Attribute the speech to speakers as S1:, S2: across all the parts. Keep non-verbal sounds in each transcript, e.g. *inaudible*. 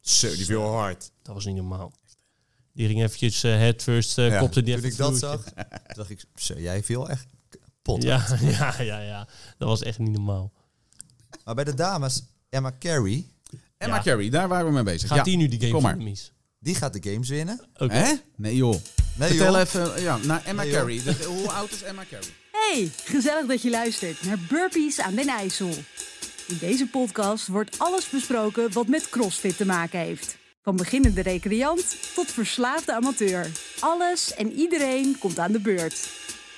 S1: Zo, die viel hard.
S2: Dat was niet normaal. Die ging eventjes het headfirst, eh,
S3: Ja,
S2: kopte die
S3: Toen
S2: even
S3: ik dat
S2: het vloertje.
S3: zag, dacht ik, zo, jij viel echt kapot.
S2: *laughs* Ja, ja, ja, ja. Dat was echt niet normaal.
S3: Maar bij de dames, Emma Carey,
S2: Ja.
S4: Emma Carey, daar waren we mee bezig.
S2: Gaat
S4: ja.
S2: die nu die game
S4: kom maar.
S2: van de mis?
S3: die gaat de games winnen.
S2: Oké.
S4: Hè? Nee joh.
S3: Nee,
S4: Vertel
S3: joh.
S4: even, ja, naar Emma
S3: Nee, joh.
S4: Carey. Dus, hoe oud is Emma Carey?
S5: Hey, gezellig dat je luistert naar Burpees aan den IJssel. In deze podcast wordt alles besproken wat met CrossFit te maken heeft. Van beginnende recreant tot verslaafde amateur. Alles en iedereen komt aan de beurt.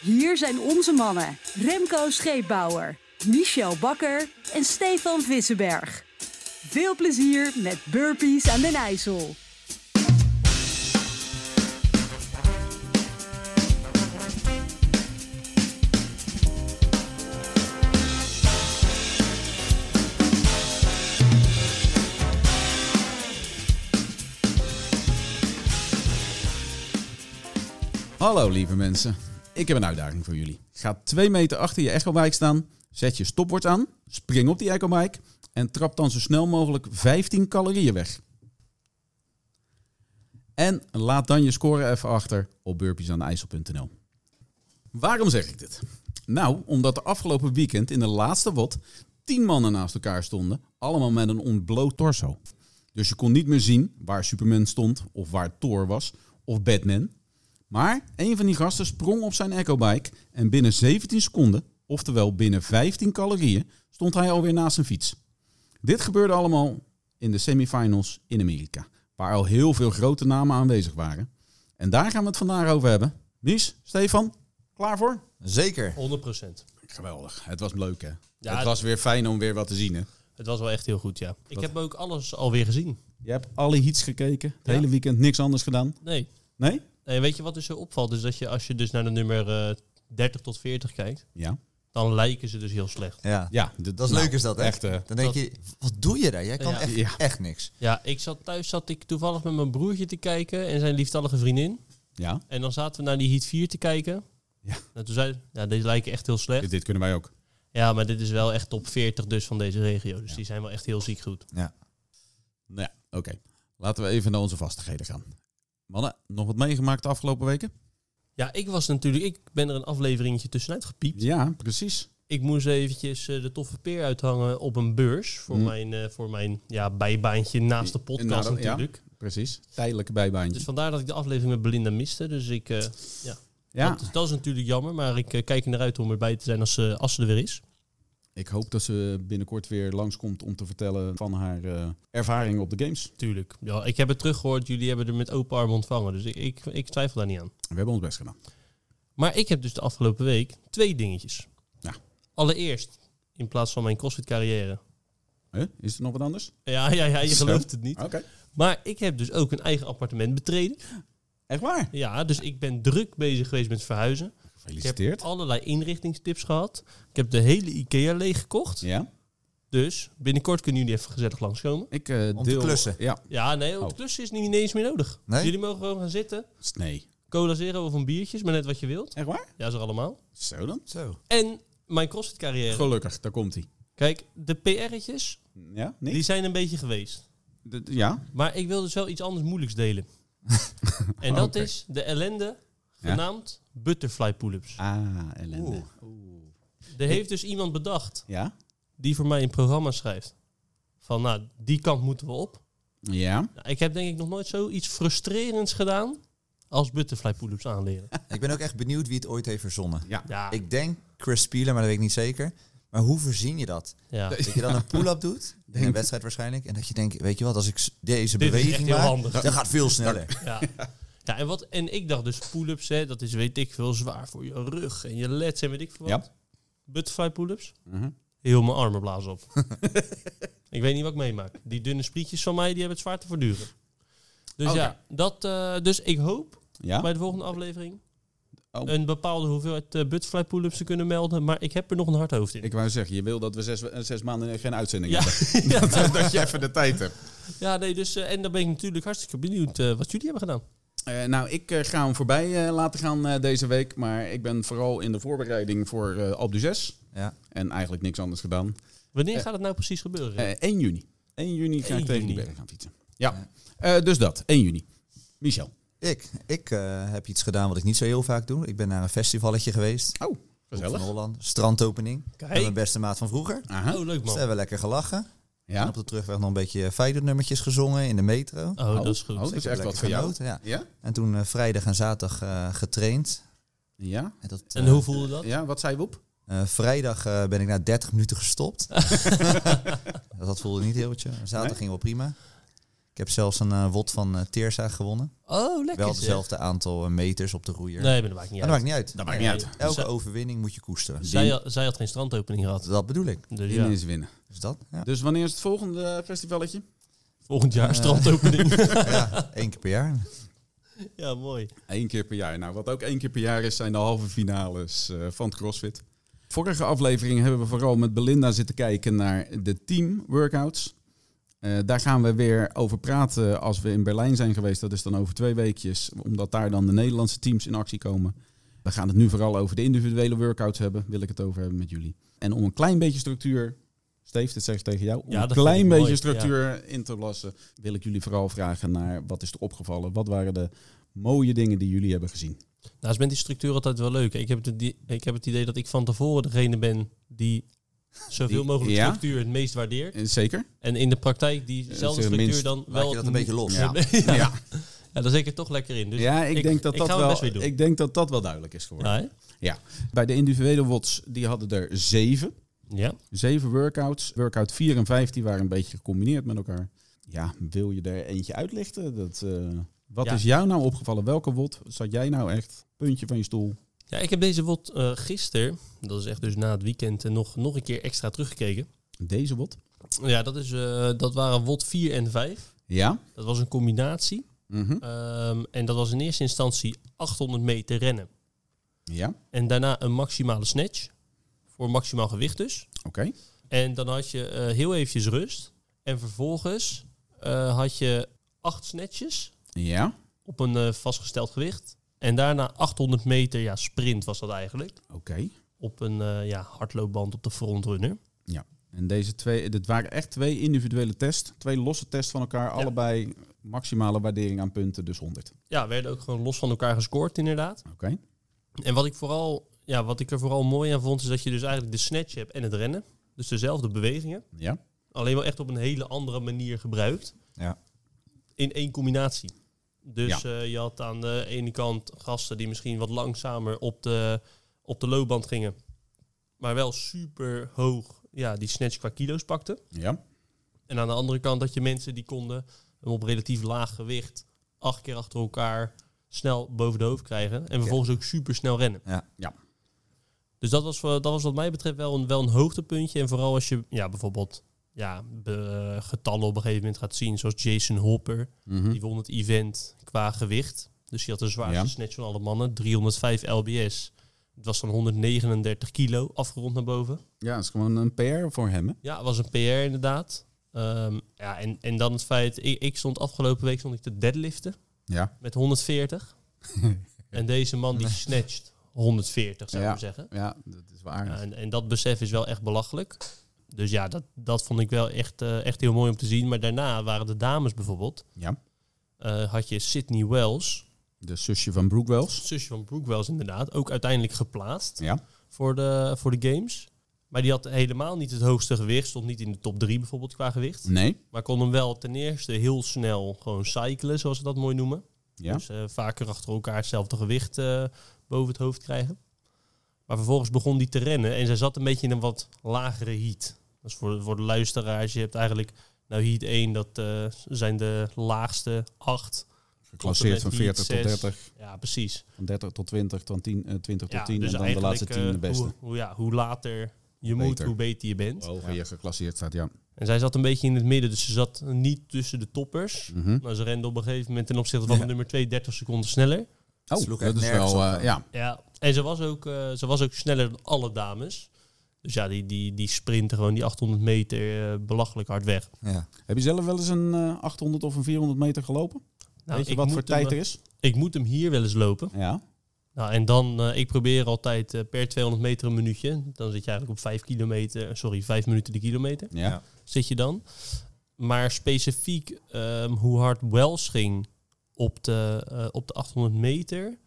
S5: Hier zijn onze mannen Remco Scheepbouwer, Michel Bakker en Stefan Vissenberg. Veel plezier met Burpees aan den IJssel.
S4: Hallo lieve mensen, ik heb een uitdaging voor jullie. Ga twee meter achter je echobike staan, zet je stopwoord aan, spring op die echobike en trap dan zo snel mogelijk 15 calorieën weg. En laat dan je score even achter op burpeesaanijssel.nl. Waarom zeg ik dit? Nou, omdat de afgelopen weekend in de laatste WOT 10 mannen naast elkaar stonden, allemaal met een ontbloot torso. Dus je kon niet meer zien waar Superman stond of waar Thor was of Batman. Maar een van die gasten sprong op zijn echobike en binnen 17 seconden, oftewel binnen 15 calorieën, stond hij alweer naast zijn fiets. Dit gebeurde allemaal in de semifinals in Amerika, waar al heel veel grote namen aanwezig waren. En daar gaan we het vandaag over hebben. Mies, Stefan, klaar voor?
S3: Zeker.
S2: 100%.
S4: Geweldig. Het was leuk, hè?
S2: Ja,
S4: het was weer fijn om weer wat te zien, hè?
S2: Het was wel echt heel goed, ja. Ik heb ook alles alweer gezien.
S4: Je hebt alle hits gekeken, het
S2: Ja.
S4: hele weekend niks anders gedaan.
S2: Nee.
S4: Nee?
S2: nee. Weet je wat dus zo opvalt? Is dat je als je dus naar de nummer eh, 30 tot 40 kijkt,
S4: Ja.
S2: dan lijken ze dus heel slecht.
S3: Ja.
S4: Ja,
S3: Dat is leuk is dat, hè?
S4: Echt, hè?
S3: Dan denk
S2: Nou, eh, Dat-
S3: je, wat doe je daar? Jij kan
S2: Ja.
S3: echt,
S4: Ja.
S3: echt niks.
S2: Ja, ik zat thuis zat ik toevallig met mijn broertje te kijken en zijn lieftallige vriendin.
S4: Ja.
S2: En dan zaten we naar die Heat 4 te kijken.
S4: Ja.
S2: En toen zei ja, deze lijken echt heel slecht.
S4: Dit, dit kunnen wij ook.
S2: Ja, maar dit is wel echt top 40 dus van deze regio. Dus die zijn wel echt heel ziek goed.
S4: Nou ja, oké. Laten we even naar onze vastigheden gaan. Mannen, nog wat meegemaakt de afgelopen weken?
S2: Ja, ik was natuurlijk... Ik ben er een afleveringetje tussenuit gepiept.
S4: Ja, precies.
S2: Ik moest eventjes eh, de toffe peer uithangen op een beurs. Voor
S4: Mm.
S2: mijn, eh, voor mijn ja, bijbaantje naast de podcast
S4: Nou, dat- ja.
S2: natuurlijk.
S4: Precies. Tijdelijke bijbaantje.
S2: Dus vandaar dat ik de aflevering met Belinda miste. Dus ik, eh,
S4: ja,
S2: dat, dat is natuurlijk jammer. Maar ik eh, kijk er naar uit om erbij te zijn als, ze- als ze er weer is.
S4: ik hoop dat ze binnenkort weer langskomt om te vertellen van haar eh ervaring op de games.
S2: Tuurlijk. Ja, ik heb het teruggehoord. Jullie hebben er met open armen ontvangen. Dus ik, ik, ik twijfel daar niet aan.
S4: We hebben ons best gedaan.
S2: Maar ik heb dus de afgelopen week twee dingetjes.
S4: Ja.
S2: Allereerst, in plaats van mijn CrossFit carrière.
S4: Hè? Is er nog wat anders?
S2: Ja, ja, ja, je
S4: Zo.
S2: gelooft het niet.
S4: Oké.
S2: Maar ik heb dus ook een eigen appartement betreden.
S4: Echt waar?
S2: Ja, dus ik ben druk bezig geweest met verhuizen. Ik heb
S4: Gefeliciteerd.
S2: allerlei inrichtingstips gehad. Ik heb de hele IKEA leeggekocht.
S4: Ja.
S2: Dus binnenkort kunnen jullie even gezellig langskomen.
S4: Ik, eh,
S3: Om te
S4: deel...
S3: klussen.
S4: Ja.
S2: Ja, nee, want
S4: Oh.
S2: de klus is niet eens meer nodig.
S3: Nee?
S2: Jullie mogen gewoon gaan zitten.
S4: S- Nee.
S2: Cola zero of een biertje, is maar net wat je wilt.
S4: Echt waar?
S2: Ja, is er allemaal.
S4: Zo dan.
S3: Zo.
S2: En mijn CrossFit carrière.
S4: Gelukkig, daar komt hij.
S2: Kijk, de PR'tjes,
S4: Ja,
S2: die
S4: niet?
S2: zijn een beetje geweest.
S4: D- ja.
S2: Maar ik wil dus wel iets anders moeilijks
S4: *laughs*
S2: delen. en dat
S4: Oké.
S2: is de ellende
S4: Ja.
S2: genaamd butterfly pull-ups.
S4: Ah, ellende.
S3: Oeh.
S2: Er heeft dus iemand bedacht
S4: Ja?
S2: die voor mij een programma schrijft. Van nou, die kant moeten we op.
S4: Ja.
S2: Nou, ik heb denk ik nog nooit zoiets frustrerends gedaan als butterfly pull-ups
S4: *laughs*
S2: aanleren.
S3: Ik ben ook echt benieuwd wie het ooit heeft verzonnen.
S2: Ja,
S3: Ik denk Chris Spieler, maar dat weet ik niet zeker. Maar hoe verzin je
S2: *laughs*
S3: dat?
S4: *laughs*
S2: ja.
S3: Dat je dan een pull-up doet, in een wedstrijd waarschijnlijk. En dat je denkt, weet je wat, als ik s- deze
S2: Dit is echt
S3: beweging
S2: heel
S3: maak,
S2: handig.
S3: dat gaat veel sneller.
S2: ja. Ja, en, wat, en ik dacht dus pull-ups, hè, dat is weet ik veel zwaar voor je rug en je lets en weet ik veel wat.
S4: Ja.
S2: Butterfly pull-ups,
S4: Mhm.
S2: heel mijn armen blazen op. *laughs* ik weet niet wat ik meemaak. Die dunne sprietjes van mij, die hebben het zwaar te verduren. Dus
S4: Oké.
S2: ja, dat, eh, dus ik hoop
S4: Ja?
S2: bij de volgende aflevering
S4: Oh.
S2: een bepaalde hoeveelheid eh, butterfly pull-ups te kunnen melden. Maar ik heb er nog een hard hoofd in.
S4: Ik wou zeggen, je wil dat we zes, eh, zes maanden geen uitzending
S2: ja.
S4: hebben.
S2: *laughs* ja.
S4: dat *laughs* je even de tijd hebt.
S2: ja, nee, dus eh, en dan ben ik natuurlijk hartstikke benieuwd eh, wat jullie hebben gedaan.
S4: Eh, nou, ik eh, ga hem voorbij eh, laten gaan eh, deze week. Maar ik ben vooral in de voorbereiding voor eh Alp du 6.
S3: Ja.
S4: En eigenlijk niks anders gedaan.
S2: Wanneer
S4: Eh,
S2: gaat het nou precies gebeuren?
S4: Eh, 1 juni. 1 juni ga
S2: 1
S4: ik tegen die
S2: juni.
S4: berg gaan fietsen. Ja, Eh, dus dat, 1 juni. Michel.
S3: Ik, ik eh, heb iets gedaan wat ik niet zo heel vaak doe. Ik ben naar een festivalletje geweest.
S4: Oh,
S3: Van
S4: gezellig.
S3: Holland. Strandopening. Met mijn beste maat van vroeger.
S4: Aha.
S2: Oh, leuk
S3: Dus daar
S2: man.
S3: hebben we lekker gelachen. En
S4: Ja.
S3: op de terugweg nog een beetje Feyenoord-nummertjes gezongen in de metro.
S2: Oh, dat is goed.
S4: Oh, dat is echt
S3: Lekker
S4: wat voor jou.
S3: genoten, ja.
S4: Ja?
S3: En toen eh, vrijdag en zaterdag eh, getraind.
S4: Ja?
S3: En, dat,
S2: En
S3: eh,
S2: hoe voelde dat?
S4: Ja, wat zei Wop?
S3: eh, vrijdag eh, ben ik na 30 minuten
S4: *laughs*
S3: gestopt. *laughs* dat voelde niet heel wat. je- Zaterdag
S4: Nee?
S3: ging wel prima. Ik heb zelfs een eh, wot van eh Teersa gewonnen.
S2: Oh, lekker.
S3: Wel
S2: zeg.
S3: hetzelfde aantal eh, meters op de roeier.
S2: Nee, maar dat maakt niet
S3: Maar dat
S2: uit.
S3: maakt
S2: dus-
S3: niet uit.
S4: Dat maakt niet uit.
S3: Elke
S2: Zij-
S3: overwinning moet je koesteren.
S2: Zij, had- zij had geen strandopening gehad.
S3: Dat bedoel ik.
S2: Dus
S4: Winnen
S2: ja,
S4: is winnen.
S3: Dus dat? Ja.
S4: Dus wanneer is het volgende festivalletje?
S2: volgend jaar
S3: Eh.
S4: *laughs*
S2: strandopening. *laughs*
S3: ja, één keer per jaar.
S2: ja, mooi.
S4: Eén keer per jaar. Nou, wat ook één keer per jaar is, zijn de halve finales eh, van het CrossFit. Vorige aflevering hebben we vooral met Belinda zitten kijken naar de team workouts. Eh, daar gaan we weer over praten als we in Berlijn zijn geweest. Dat is dan over twee weekjes, omdat daar dan de Nederlandse teams in actie komen. We gaan het nu vooral over de individuele workouts hebben. Wil ik het over hebben met jullie. En om een klein beetje structuur, Steef, dit zeg ik tegen jou. Om
S2: Ja,
S4: een
S2: dat vind
S4: klein
S2: ik
S4: beetje
S2: mooi,
S4: structuur in te lassen, wil ik jullie vooral vragen naar wat is er opgevallen? Wat waren de mooie dingen die jullie hebben gezien?
S2: Nou, is met die structuur altijd wel leuk. Ik heb, het, idee- ik heb het idee dat ik van tevoren degene ben die zoveel
S4: Die-
S2: mogelijk
S4: ja?
S2: structuur het meest waardeert.
S4: Eh, Zeker?
S2: En in de praktijk
S4: Dat is
S2: diezelfde
S4: het
S2: structuur
S4: minst-
S2: dan wel...
S3: Laat je dat een beetje los.
S2: Ja, *laughs*
S4: Ja,
S2: ja. ja daar zeker toch lekker in. Dus
S4: ja ik, denk dat dat
S2: ga mijn best weer
S4: wel,
S2: doen.
S4: ik denk dat dat wel duidelijk is geworden.
S2: ja, hè?
S4: Bij de individuele WOTS, die hadden er zeven.
S2: ja.
S4: Zeven workouts. Workout 4 en 5 die waren een beetje gecombineerd met elkaar. Ja, wil je er eentje uitlichten? Dat, eh, wat
S2: Ja.
S4: is jou nou opgevallen? Welke WOT zat jij nou echt? Puntje van je stoel.
S2: Ja, ik heb deze WOT eh gisteren, dat is echt dus na het weekend, en nog, nog een keer extra teruggekeken.
S4: Deze WOT.
S2: Ja, dat, is, eh, dat waren WOT 4 en 5.
S4: Ja.
S2: Dat was een combinatie.
S4: Mhm.
S2: Ehm, en dat was in eerste instantie 800 meter rennen.
S4: Ja. Oké.
S2: En daarna een maximale snatch. Voor maximaal gewicht dus. En dan had je eh, heel eventjes rust. En vervolgens eh, had je acht snatches
S4: Ja.
S2: op een eh, vastgesteld gewicht. En daarna 800 meter ja, sprint was dat eigenlijk.
S4: Oké.
S2: Op een eh, ja, hardloopband op de frontrunner.
S4: En deze twee, dit waren echt twee individuele tests. Twee losse tests van elkaar. Allebei maximale waardering aan punten, dus 100.
S2: Ja, werden ook gewoon los van elkaar gescoord inderdaad.
S4: Oké.
S2: En wat ik, vooral, ja, wat ik er vooral mooi aan vond, is dat je dus eigenlijk de snatch hebt en het rennen. Dus dezelfde bewegingen.
S4: Ja.
S2: Alleen wel echt op een hele andere manier gebruikt.
S3: Ja.
S2: In één combinatie. Dus
S4: Ja.
S2: eh, je had aan de ene kant gasten die misschien wat langzamer op de, op de loopband gingen. Maar wel super hoog ja, die snatch qua kilo's pakten.
S4: Ja.
S2: En aan de andere kant dat je mensen die konden hem op relatief laag gewicht acht keer achter elkaar snel boven de hoofd krijgen. En vervolgens ook super snel rennen.
S3: Ja.
S4: Ja.
S2: Dus dat was, voor- dat was wat mij betreft wel een, wel een hoogtepuntje. En vooral als je ja, bijvoorbeeld ja, be- eh, getallen op een gegeven moment gaat zien. Zoals Jason Hopper.
S4: Mhm.
S2: Die won het event qua gewicht. Dus die had de zwaarste
S4: Ja.
S2: snatch van alle mannen. 305 lbs. Het was dan 139 kilo afgerond naar boven.
S4: Ja, dat is gewoon een PR voor hem, hè?
S2: Ja, het was een PR inderdaad. Ehm, ja, en, en dan het feit, ik, ik stond afgelopen week stond ik te deadliften
S4: Ja.
S2: met
S4: *laughs*
S2: 140. en deze man die snatcht 140, zou ik
S4: Ja.
S2: maar zeggen.
S4: Ja, dat is waar.
S2: Ja, en, en dat besef is wel echt belachelijk. Dus ja, dat, dat vond ik wel echt, eh, echt heel mooi om te zien. Maar daarna waren de dames bijvoorbeeld.
S4: Ja.
S2: eh, had je Sydney Wells,
S4: De zusje van Brooke Wells.
S2: zusje van Brooke Wells inderdaad, ook uiteindelijk geplaatst
S4: Ja.
S2: voor de, voor de games. Maar die had helemaal niet het hoogste gewicht. Stond niet in de top 3 bijvoorbeeld qua gewicht.
S4: Nee.
S2: Maar kon hem wel ten eerste heel snel gewoon cyclen, zoals ze dat mooi noemen.
S4: Ja.
S2: Dus eh, vaker achter elkaar hetzelfde gewicht eh, boven het hoofd krijgen. Maar vervolgens begon die te rennen en zij zat een beetje in een wat lagere heat. Dat is voor, voor de luisteraars. Je hebt eigenlijk, nou heat 1, dat eh, zijn de laagste 8.
S4: Geclasseerd van
S2: Tot en met
S4: 40 tot
S2: heat
S4: 30.
S2: Ja, precies.
S4: Van 30 tot 20, van 10, eh, 20 tot
S2: ja, dus
S4: 10. en dan de
S2: eigenlijk,
S4: laatste 10 de
S2: eh,
S4: beste.
S2: Hoe, hoe- ja, hoe later je moet,
S4: Beter.
S2: hoe beter je bent.
S4: Hoger je geclasseerd staat, ja.
S2: En zij zat een beetje in het midden, dus ze zat niet tussen de toppers.
S4: Mhm.
S2: Nou, ze rende op een gegeven moment ten opzichte van
S4: Ja.
S2: de nummer 2 30 seconden sneller.
S4: Oh,
S3: sloeg
S4: dat
S3: echt
S4: is
S3: nergens
S4: wel...
S3: op.
S4: eh, ja.
S2: Ja, en ze was ook, eh, ze was ook sneller dan alle dames. Dus ja, die, die, die sprinten gewoon die 800 meter eh, belachelijk hard weg.
S4: Nou,
S3: Ja.
S4: Heb je zelf wel eens een eh, 800 of een 400 meter gelopen?
S2: Nou,
S4: Weet je
S2: ik
S4: wat
S2: moet
S4: voor
S2: hem,
S4: tijd
S2: eh,
S4: er is?
S2: Ik moet hem hier wel eens lopen.
S4: Ja.
S2: Nou, en dan, eh, ik probeer altijd eh, per 200 meter een minuutje. Dan zit je eigenlijk op 5 kilometer, sorry, 5 minuten de kilometer.
S4: Ja.
S2: Zit je dan. Maar specifiek ehm, hoe hard Wells ging op de, eh, op de 800 meter.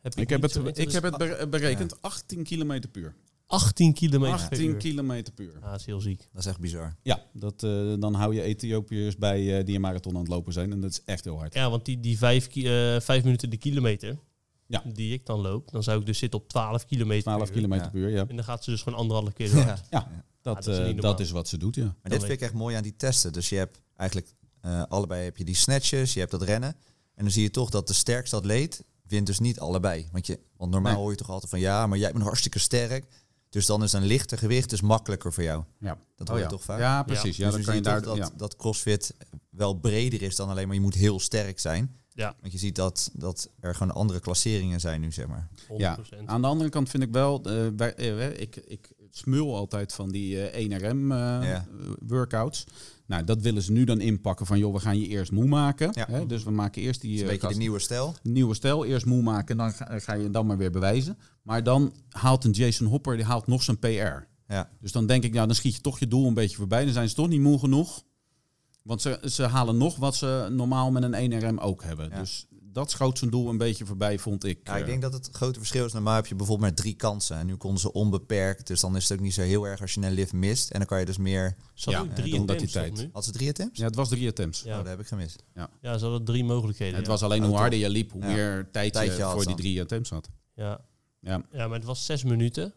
S2: Heb ik,
S4: Ik heb
S2: niet zo
S4: het, ik heb het bere- berekend 18 kilometer puur.
S2: 18 kilometer.
S4: 18 kilometer puur.
S2: Ah, dat is heel ziek.
S3: Dat is echt bizar.
S4: Ja, dat, eh, dan hou je Ethiopiërs bij eh, die een marathon aan het lopen zijn. En dat is echt heel hard.
S2: Ja, want die, die vijf, ki- eh, vijf minuten de kilometer
S4: Ja.
S2: die ik dan loop, dan zou ik dus zitten op 12 kilometer.
S4: 12
S2: per uur.
S4: kilometer
S3: Ja.
S4: puur, ja.
S2: En dan gaat ze dus gewoon anderhalve keer zo hard.
S4: Dat,
S2: dat is
S4: eh,
S2: niet normaal.
S4: dat is wat ze doet, ja.
S3: Maar
S2: Dan
S3: dit vind ik echt mooi aan die testen. Dus je hebt eigenlijk eh, allebei heb je die snatches, je hebt dat rennen. En dan zie je toch dat de sterkste atleet wint dus niet allebei. Want, je, want normaal
S4: Nee.
S3: hoor je toch altijd van ja, maar jij bent hartstikke sterk. Dus dan is een lichter gewicht dus makkelijker voor jou.
S4: Oh ja.
S3: Dat hoor je toch vaak?
S4: Ja, precies. Ja,
S3: Dus
S4: dan
S3: je
S4: kan je
S3: ziet
S4: daar...
S3: toch dat,
S4: ja.
S3: dat CrossFit wel breder is dan alleen maar je moet heel sterk zijn.
S2: Ja.
S3: Want je ziet dat, dat er gewoon andere klasseringen zijn nu, zeg maar.
S2: 100%.
S4: Ja, aan de andere kant vind ik wel, eh, wij- eh, ik, ik smul altijd van die eh 1RM eh,
S3: Ja.
S4: workouts. Nou, dat willen ze nu dan inpakken van, joh, we gaan je eerst moe maken.
S3: Ja.
S4: Hè? Dus we maken eerst die
S3: Dus een
S4: eh,
S3: beetje de
S4: gast-
S3: nieuwe stijl.
S4: nieuwe stijl, eerst moe maken en dan ga, ga je dan maar weer bewijzen. Maar dan haalt een Jason Hopper, die haalt nog zijn PR.
S3: Ja.
S4: Dus dan denk ik, nou, dan schiet je toch je doel een beetje voorbij. Dan zijn ze toch niet moe genoeg. Want ze, ze halen nog wat ze normaal met een 1RM ook hebben.
S3: Ja.
S4: Dus dat schoot zijn doel een beetje voorbij, vond ik.
S3: Ja,
S4: eh.
S3: ik denk dat het grote verschil is. Normaal heb je bijvoorbeeld maar drie kansen. En nu konden ze onbeperkt. Dus dan is het ook niet zo heel erg als je een lift mist. En dan kan je dus meer...
S2: Ze hadden
S4: Ja,
S2: ook drie
S4: omdat die
S2: attempts, toch,
S4: tijd.
S2: nu?
S3: Had ze drie attempts?
S4: Ja, het was drie attempts.
S3: Oh,
S2: Ja.
S3: dat heb ik gemist.
S2: ja, ze hadden drie mogelijkheden.
S4: het
S2: ja.
S4: was alleen
S3: Oh,
S4: hoe
S3: toch.
S4: harder je liep, hoe
S3: Ja.
S4: meer tijd je,
S3: Tijdje had
S4: voor die
S3: dan.
S4: drie attempts had.
S2: Ja.
S4: Ja.
S2: ja, maar het was zes minuten.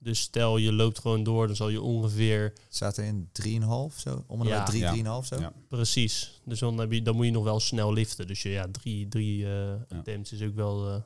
S2: Dus stel je loopt gewoon door, dan zal je ongeveer
S3: Staat er in 3,5 zo? Om en
S2: Ja.
S3: bij drie,
S4: Ja.
S3: 3,5 zo?
S4: Ja.
S2: precies. Dus dan, heb je, dan moet je nog wel snel liften. Dus je, ja, drie, drie eh, attempts is ook wel eh,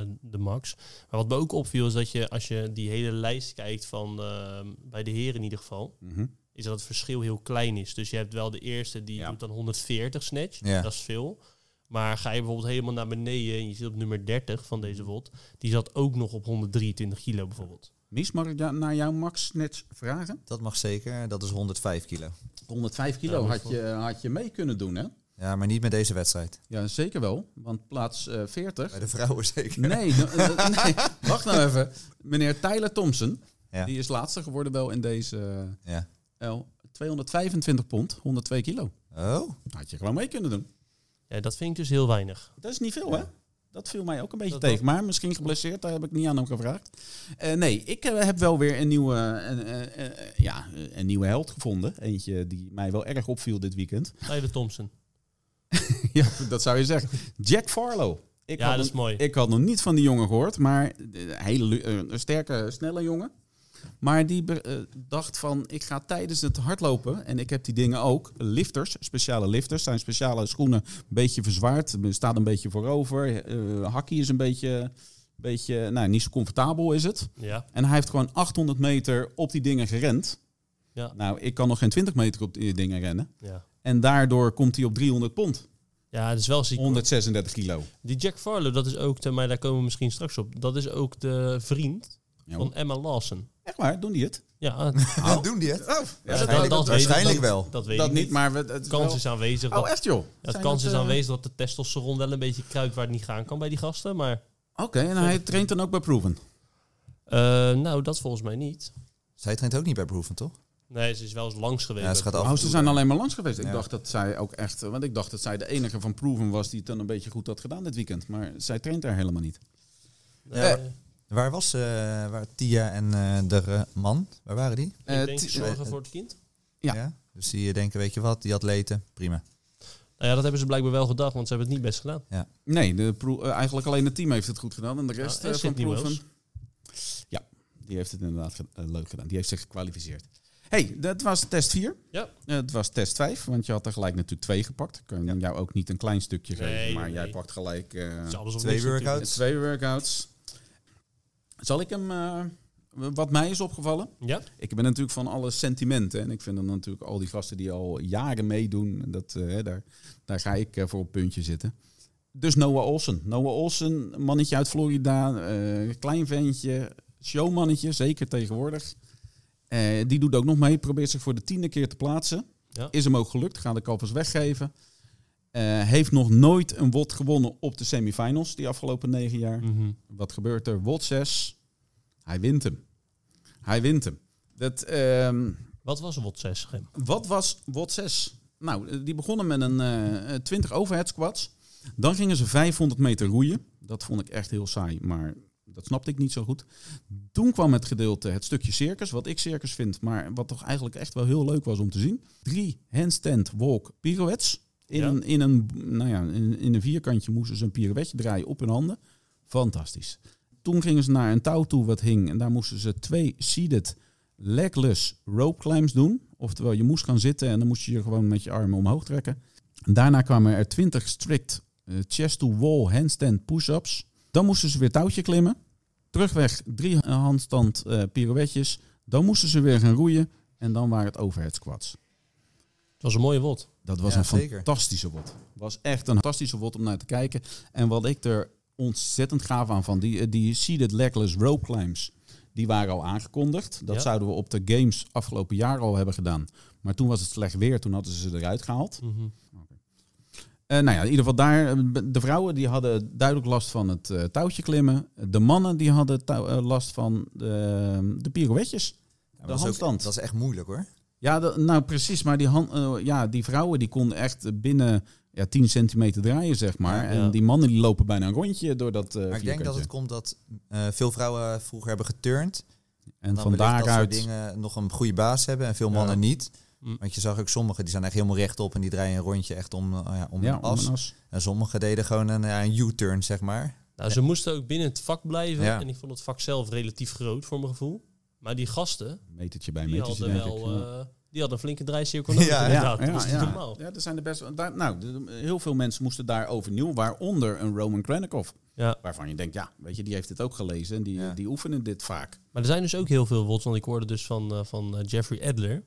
S2: eh, de max. Maar wat me ook opviel is dat je, als je die hele lijst kijkt van eh, bij de heren in ieder geval,
S4: Mhm.
S2: is dat het verschil heel klein is. Dus je hebt wel de eerste die
S4: Ja.
S2: doet dan 140 snatch.
S3: Ja.
S2: Dat is veel. Maar ga je bijvoorbeeld helemaal naar beneden en je zit op nummer 30 van deze
S4: Mhm.
S2: WOD, die zat ook nog op 123 kilo bijvoorbeeld.
S4: Mies, mag ik ja- naar jou max snatch vragen?
S3: Dat mag zeker. Dat is 105 kilo.
S4: 105 kilo
S2: Ja, dat is
S4: had, je, had je mee kunnen doen, hè?
S3: Ja, maar niet met deze wedstrijd.
S4: Ja, zeker wel. Want plaats eh 40
S3: Bij de vrouwen *laughs* zeker.
S4: Nee, d-
S3: *laughs*
S4: d- nee, wacht nou even. Meneer Tyler Thompson,
S3: Ja.
S4: die is laatste geworden wel in deze
S3: Ja.
S4: eh, L. 225 pond, 102 kilo.
S3: Oh,
S4: Had je gewoon mee kunnen doen.
S2: Ja, dat vind ik dus heel weinig.
S4: Dat is niet veel, hè? Dat viel mij ook een beetje
S2: Dat-
S4: tegen. Maar misschien geblesseerd, daar heb ik niet aan hem gevraagd. Eh, nee, ik eh, heb wel weer een nieuwe, eh, eh, eh, ja, eh, een nieuwe held gevonden. Eentje die mij wel erg opviel dit weekend.
S2: Tyler Thompson.
S4: ja, *laughs* dat zou je zeggen. Jack Farlow. Ik
S2: ja,
S4: had
S2: dat
S4: hem-
S2: is mooi.
S4: Ik had nog niet van die jongen gehoord, maar een hele lu- eh, een sterke, snelle jongen. Maar die be- eh, dacht van, ik ga tijdens het hardlopen, en ik heb die dingen ook, lifters, speciale lifters, zijn speciale schoenen, een beetje verzwaard, eh, staat een beetje voorover, eh hakkie is een beetje, beetje, nou niet zo comfortabel is het.
S2: Ja,
S4: En hij heeft gewoon 800 meter op die dingen gerend.
S2: Ja.
S4: Nou, ik kan nog geen 20 meter op die dingen rennen.
S2: ja.
S4: En daardoor komt hij op 300 pond,
S2: ja het is wel ziek.
S4: 136 kilo.
S2: Die Jack Farlow, dat is ook, eh, maar daar komen we misschien straks op, dat is ook de vriend
S4: Ja,
S2: van Emma Lawson.
S4: Echt waar, doen die het?
S2: Ja,
S3: *laughs* doen die het?
S2: dat-
S3: waarschijnlijk
S2: dat weet ik
S3: waarschijnlijk
S2: dan.
S3: wel.
S2: dat weet
S4: dat
S2: ik
S4: niet, maar we, het
S2: De
S4: is
S2: kans
S4: wel-
S2: is aanwezig dat
S4: Oh, echt joh?
S2: Ja, het
S4: Zijn
S2: kans
S4: dat,
S2: is
S4: eh,
S2: aanwezig dat de testosteron wel een beetje kruipt waar het niet gaan kan bij die gasten. Maar
S4: Oké, en hij traint dan ook bij Proven.
S2: eh, nou, dat volgens mij niet.
S3: Zij traint ook niet bij Proeven, toch?
S2: Nee, ze is wel eens langs geweest.
S3: Ja, ze
S2: bij
S3: gaat af.
S4: Oh,
S3: en
S4: ze
S3: toe
S4: zijn
S3: daar.
S4: alleen maar langs geweest. Ik
S3: Ja.
S4: dacht dat zij ook echt... eh, Want ik dacht dat zij de enige van Proven was die het dan een beetje goed had gedaan dit weekend. Maar zij traint daar helemaal niet.
S2: Pro- Nee,
S3: Ja. Waar was eh, waar Tia en eh, de eh, man? Waar waren die?
S4: Eh,
S2: ik denk
S4: t-
S2: zorgen voor het kind.
S4: Ja.
S3: Dus die eh, denken, weet je wat, die atleten, prima.
S2: Nou ja, dat hebben ze blijkbaar wel gedacht, want ze hebben het niet best gedaan.
S4: Nee, de Pro- eh, eigenlijk alleen het team heeft het goed gedaan. En de rest
S2: Ja, en
S4: eh, van
S2: Sydney Wells.
S4: Proven... Ja, die heeft het inderdaad ge- eh, leuk gedaan. Die heeft zich gekwalificeerd. hey, dat was test 4.
S2: Ja.
S4: Eh, Het was test 5, want je had er gelijk natuurlijk twee gepakt. Kan je jou ook niet een klein stukje
S2: Nee,
S4: geven, maar
S2: nee.
S4: jij pakt gelijk... eh,
S2: Het is alles of
S3: Twee
S2: niks natuurlijk.
S3: workouts.
S4: Twee workouts. Zal ik hem... eh, wat mij is opgevallen...
S2: Ja,
S4: Ik ben natuurlijk van alle sentimenten. En ik vind dan natuurlijk al die gasten die al jaren meedoen. Dat, eh, hè, daar, daar ga ik eh, voor op puntje zitten. Dus Noah Olsen. Noah Olsen, een mannetje uit Florida. eh, klein ventje. Showmannetje, zeker tegenwoordig. Eh, die doet ook nog mee. Probeert zich voor de tiende keer te plaatsen.
S2: Ja.
S4: Is hem ook gelukt. Ga de kalvers weggeven. Eh, heeft nog nooit een WOT gewonnen op de semifinals. Die afgelopen negen jaar.
S2: Mhm.
S4: Wat gebeurt er? WOT 6. Hij wint hem. Hij wint hem. Dat, ehm,
S2: Wat was WOT 6, Grim?
S4: Wat was WOT 6? Nou, die begonnen met een eh, 20 overhead squats. Dan gingen ze 500 meter roeien. Dat vond ik echt heel saai, maar dat snapte ik niet zo goed. Toen kwam het gedeelte, het stukje circus, wat ik circus vind, maar wat toch eigenlijk echt wel heel leuk was om te zien. Drie handstand walk pirouettes. In,
S2: Ja.
S4: een, in, een, nou ja, in, in een vierkantje moesten ze een pirouetje draaien op hun handen. Fantastisch. Toen gingen ze naar een touw toe wat hing en daar moesten ze twee seated legless rope climbs doen. Oftewel, je moest gaan zitten en dan moest je je gewoon met je armen omhoog trekken. Daarna kwamen er 20 strict eh, chest-to-wall handstand push-ups. Dan moesten ze weer touwtje klimmen. Terugweg drie eh, handstand eh pirouetjes. Dan moesten ze weer gaan roeien. En dan waren het overhead squats.
S2: Het was een mooie WOT.
S4: Dat was
S3: Ja,
S4: een
S3: zeker.
S4: fantastische wot. was echt een fantastische wot om naar te kijken. En wat ik er ontzettend gaaf aan van die, eh, die seated legless rope climbs, die waren al aangekondigd. Dat
S2: Ja.
S4: zouden we op de games afgelopen jaar al hebben gedaan. Maar toen was het slecht weer, toen hadden ze ze eruit gehaald.
S3: Mhm.
S4: Eh, nou ja, in ieder geval daar. eh, De vrouwen die hadden duidelijk last van het eh, touwtje klimmen. De mannen die hadden touw- eh, last van de, ehm, de pirouetjes.
S3: Ja, maar
S4: De
S3: dat is ook-
S4: handstand.
S3: dat is echt moeilijk hoor.
S4: Ja, dat- nou precies. Maar die, hand, eh, ja, die vrouwen die konden echt binnen ja, 10 centimeter draaien, zeg maar.
S2: Ja.
S4: En die mannen die lopen bijna een rondje door dat eh
S3: Maar ik denk dat het
S4: vierkantje.
S3: komt dat eh, veel vrouwen vroeger hebben geturnd.
S4: En
S3: dan
S4: van
S3: wellicht dat soort
S4: daaruit...
S3: dingen nog een goede baas hebben en veel
S4: Ja.
S3: mannen niet.
S2: Mm.
S3: Want je zag ook sommigen die zijn echt helemaal rechtop en die draaien een rondje echt om, eh, ja, om
S4: ja,
S3: een as.
S4: om een as.
S3: En sommigen deden gewoon een, ja, een U-turn, zeg maar.
S2: Nou, ze moesten ook binnen het vak blijven.
S3: Ja.
S2: En ik vond het vak zelf relatief groot, voor mijn gevoel. Maar die gasten,
S4: Metertje bij
S2: die
S4: metertje,
S2: hadden
S4: denk
S2: wel...
S4: ik. Ja.
S2: eh, die hadden een flinke draaicirkel nodig,
S3: Ja,
S2: inderdaad. dat was niet
S4: ja.
S2: normaal.
S4: Ja, er zijn de best, daar, nou, de- heel veel mensen moesten daar overnieuw, waaronder een Roman Krennikov.
S2: Ja.
S4: Waarvan je denkt, ja, weet je, die heeft dit ook gelezen en die,
S3: Ja.
S4: die oefenen dit vaak.
S2: Maar er zijn dus ook heel veel WOTs. Want ik hoorde dus van, eh, van eh, Jeffrey Adler.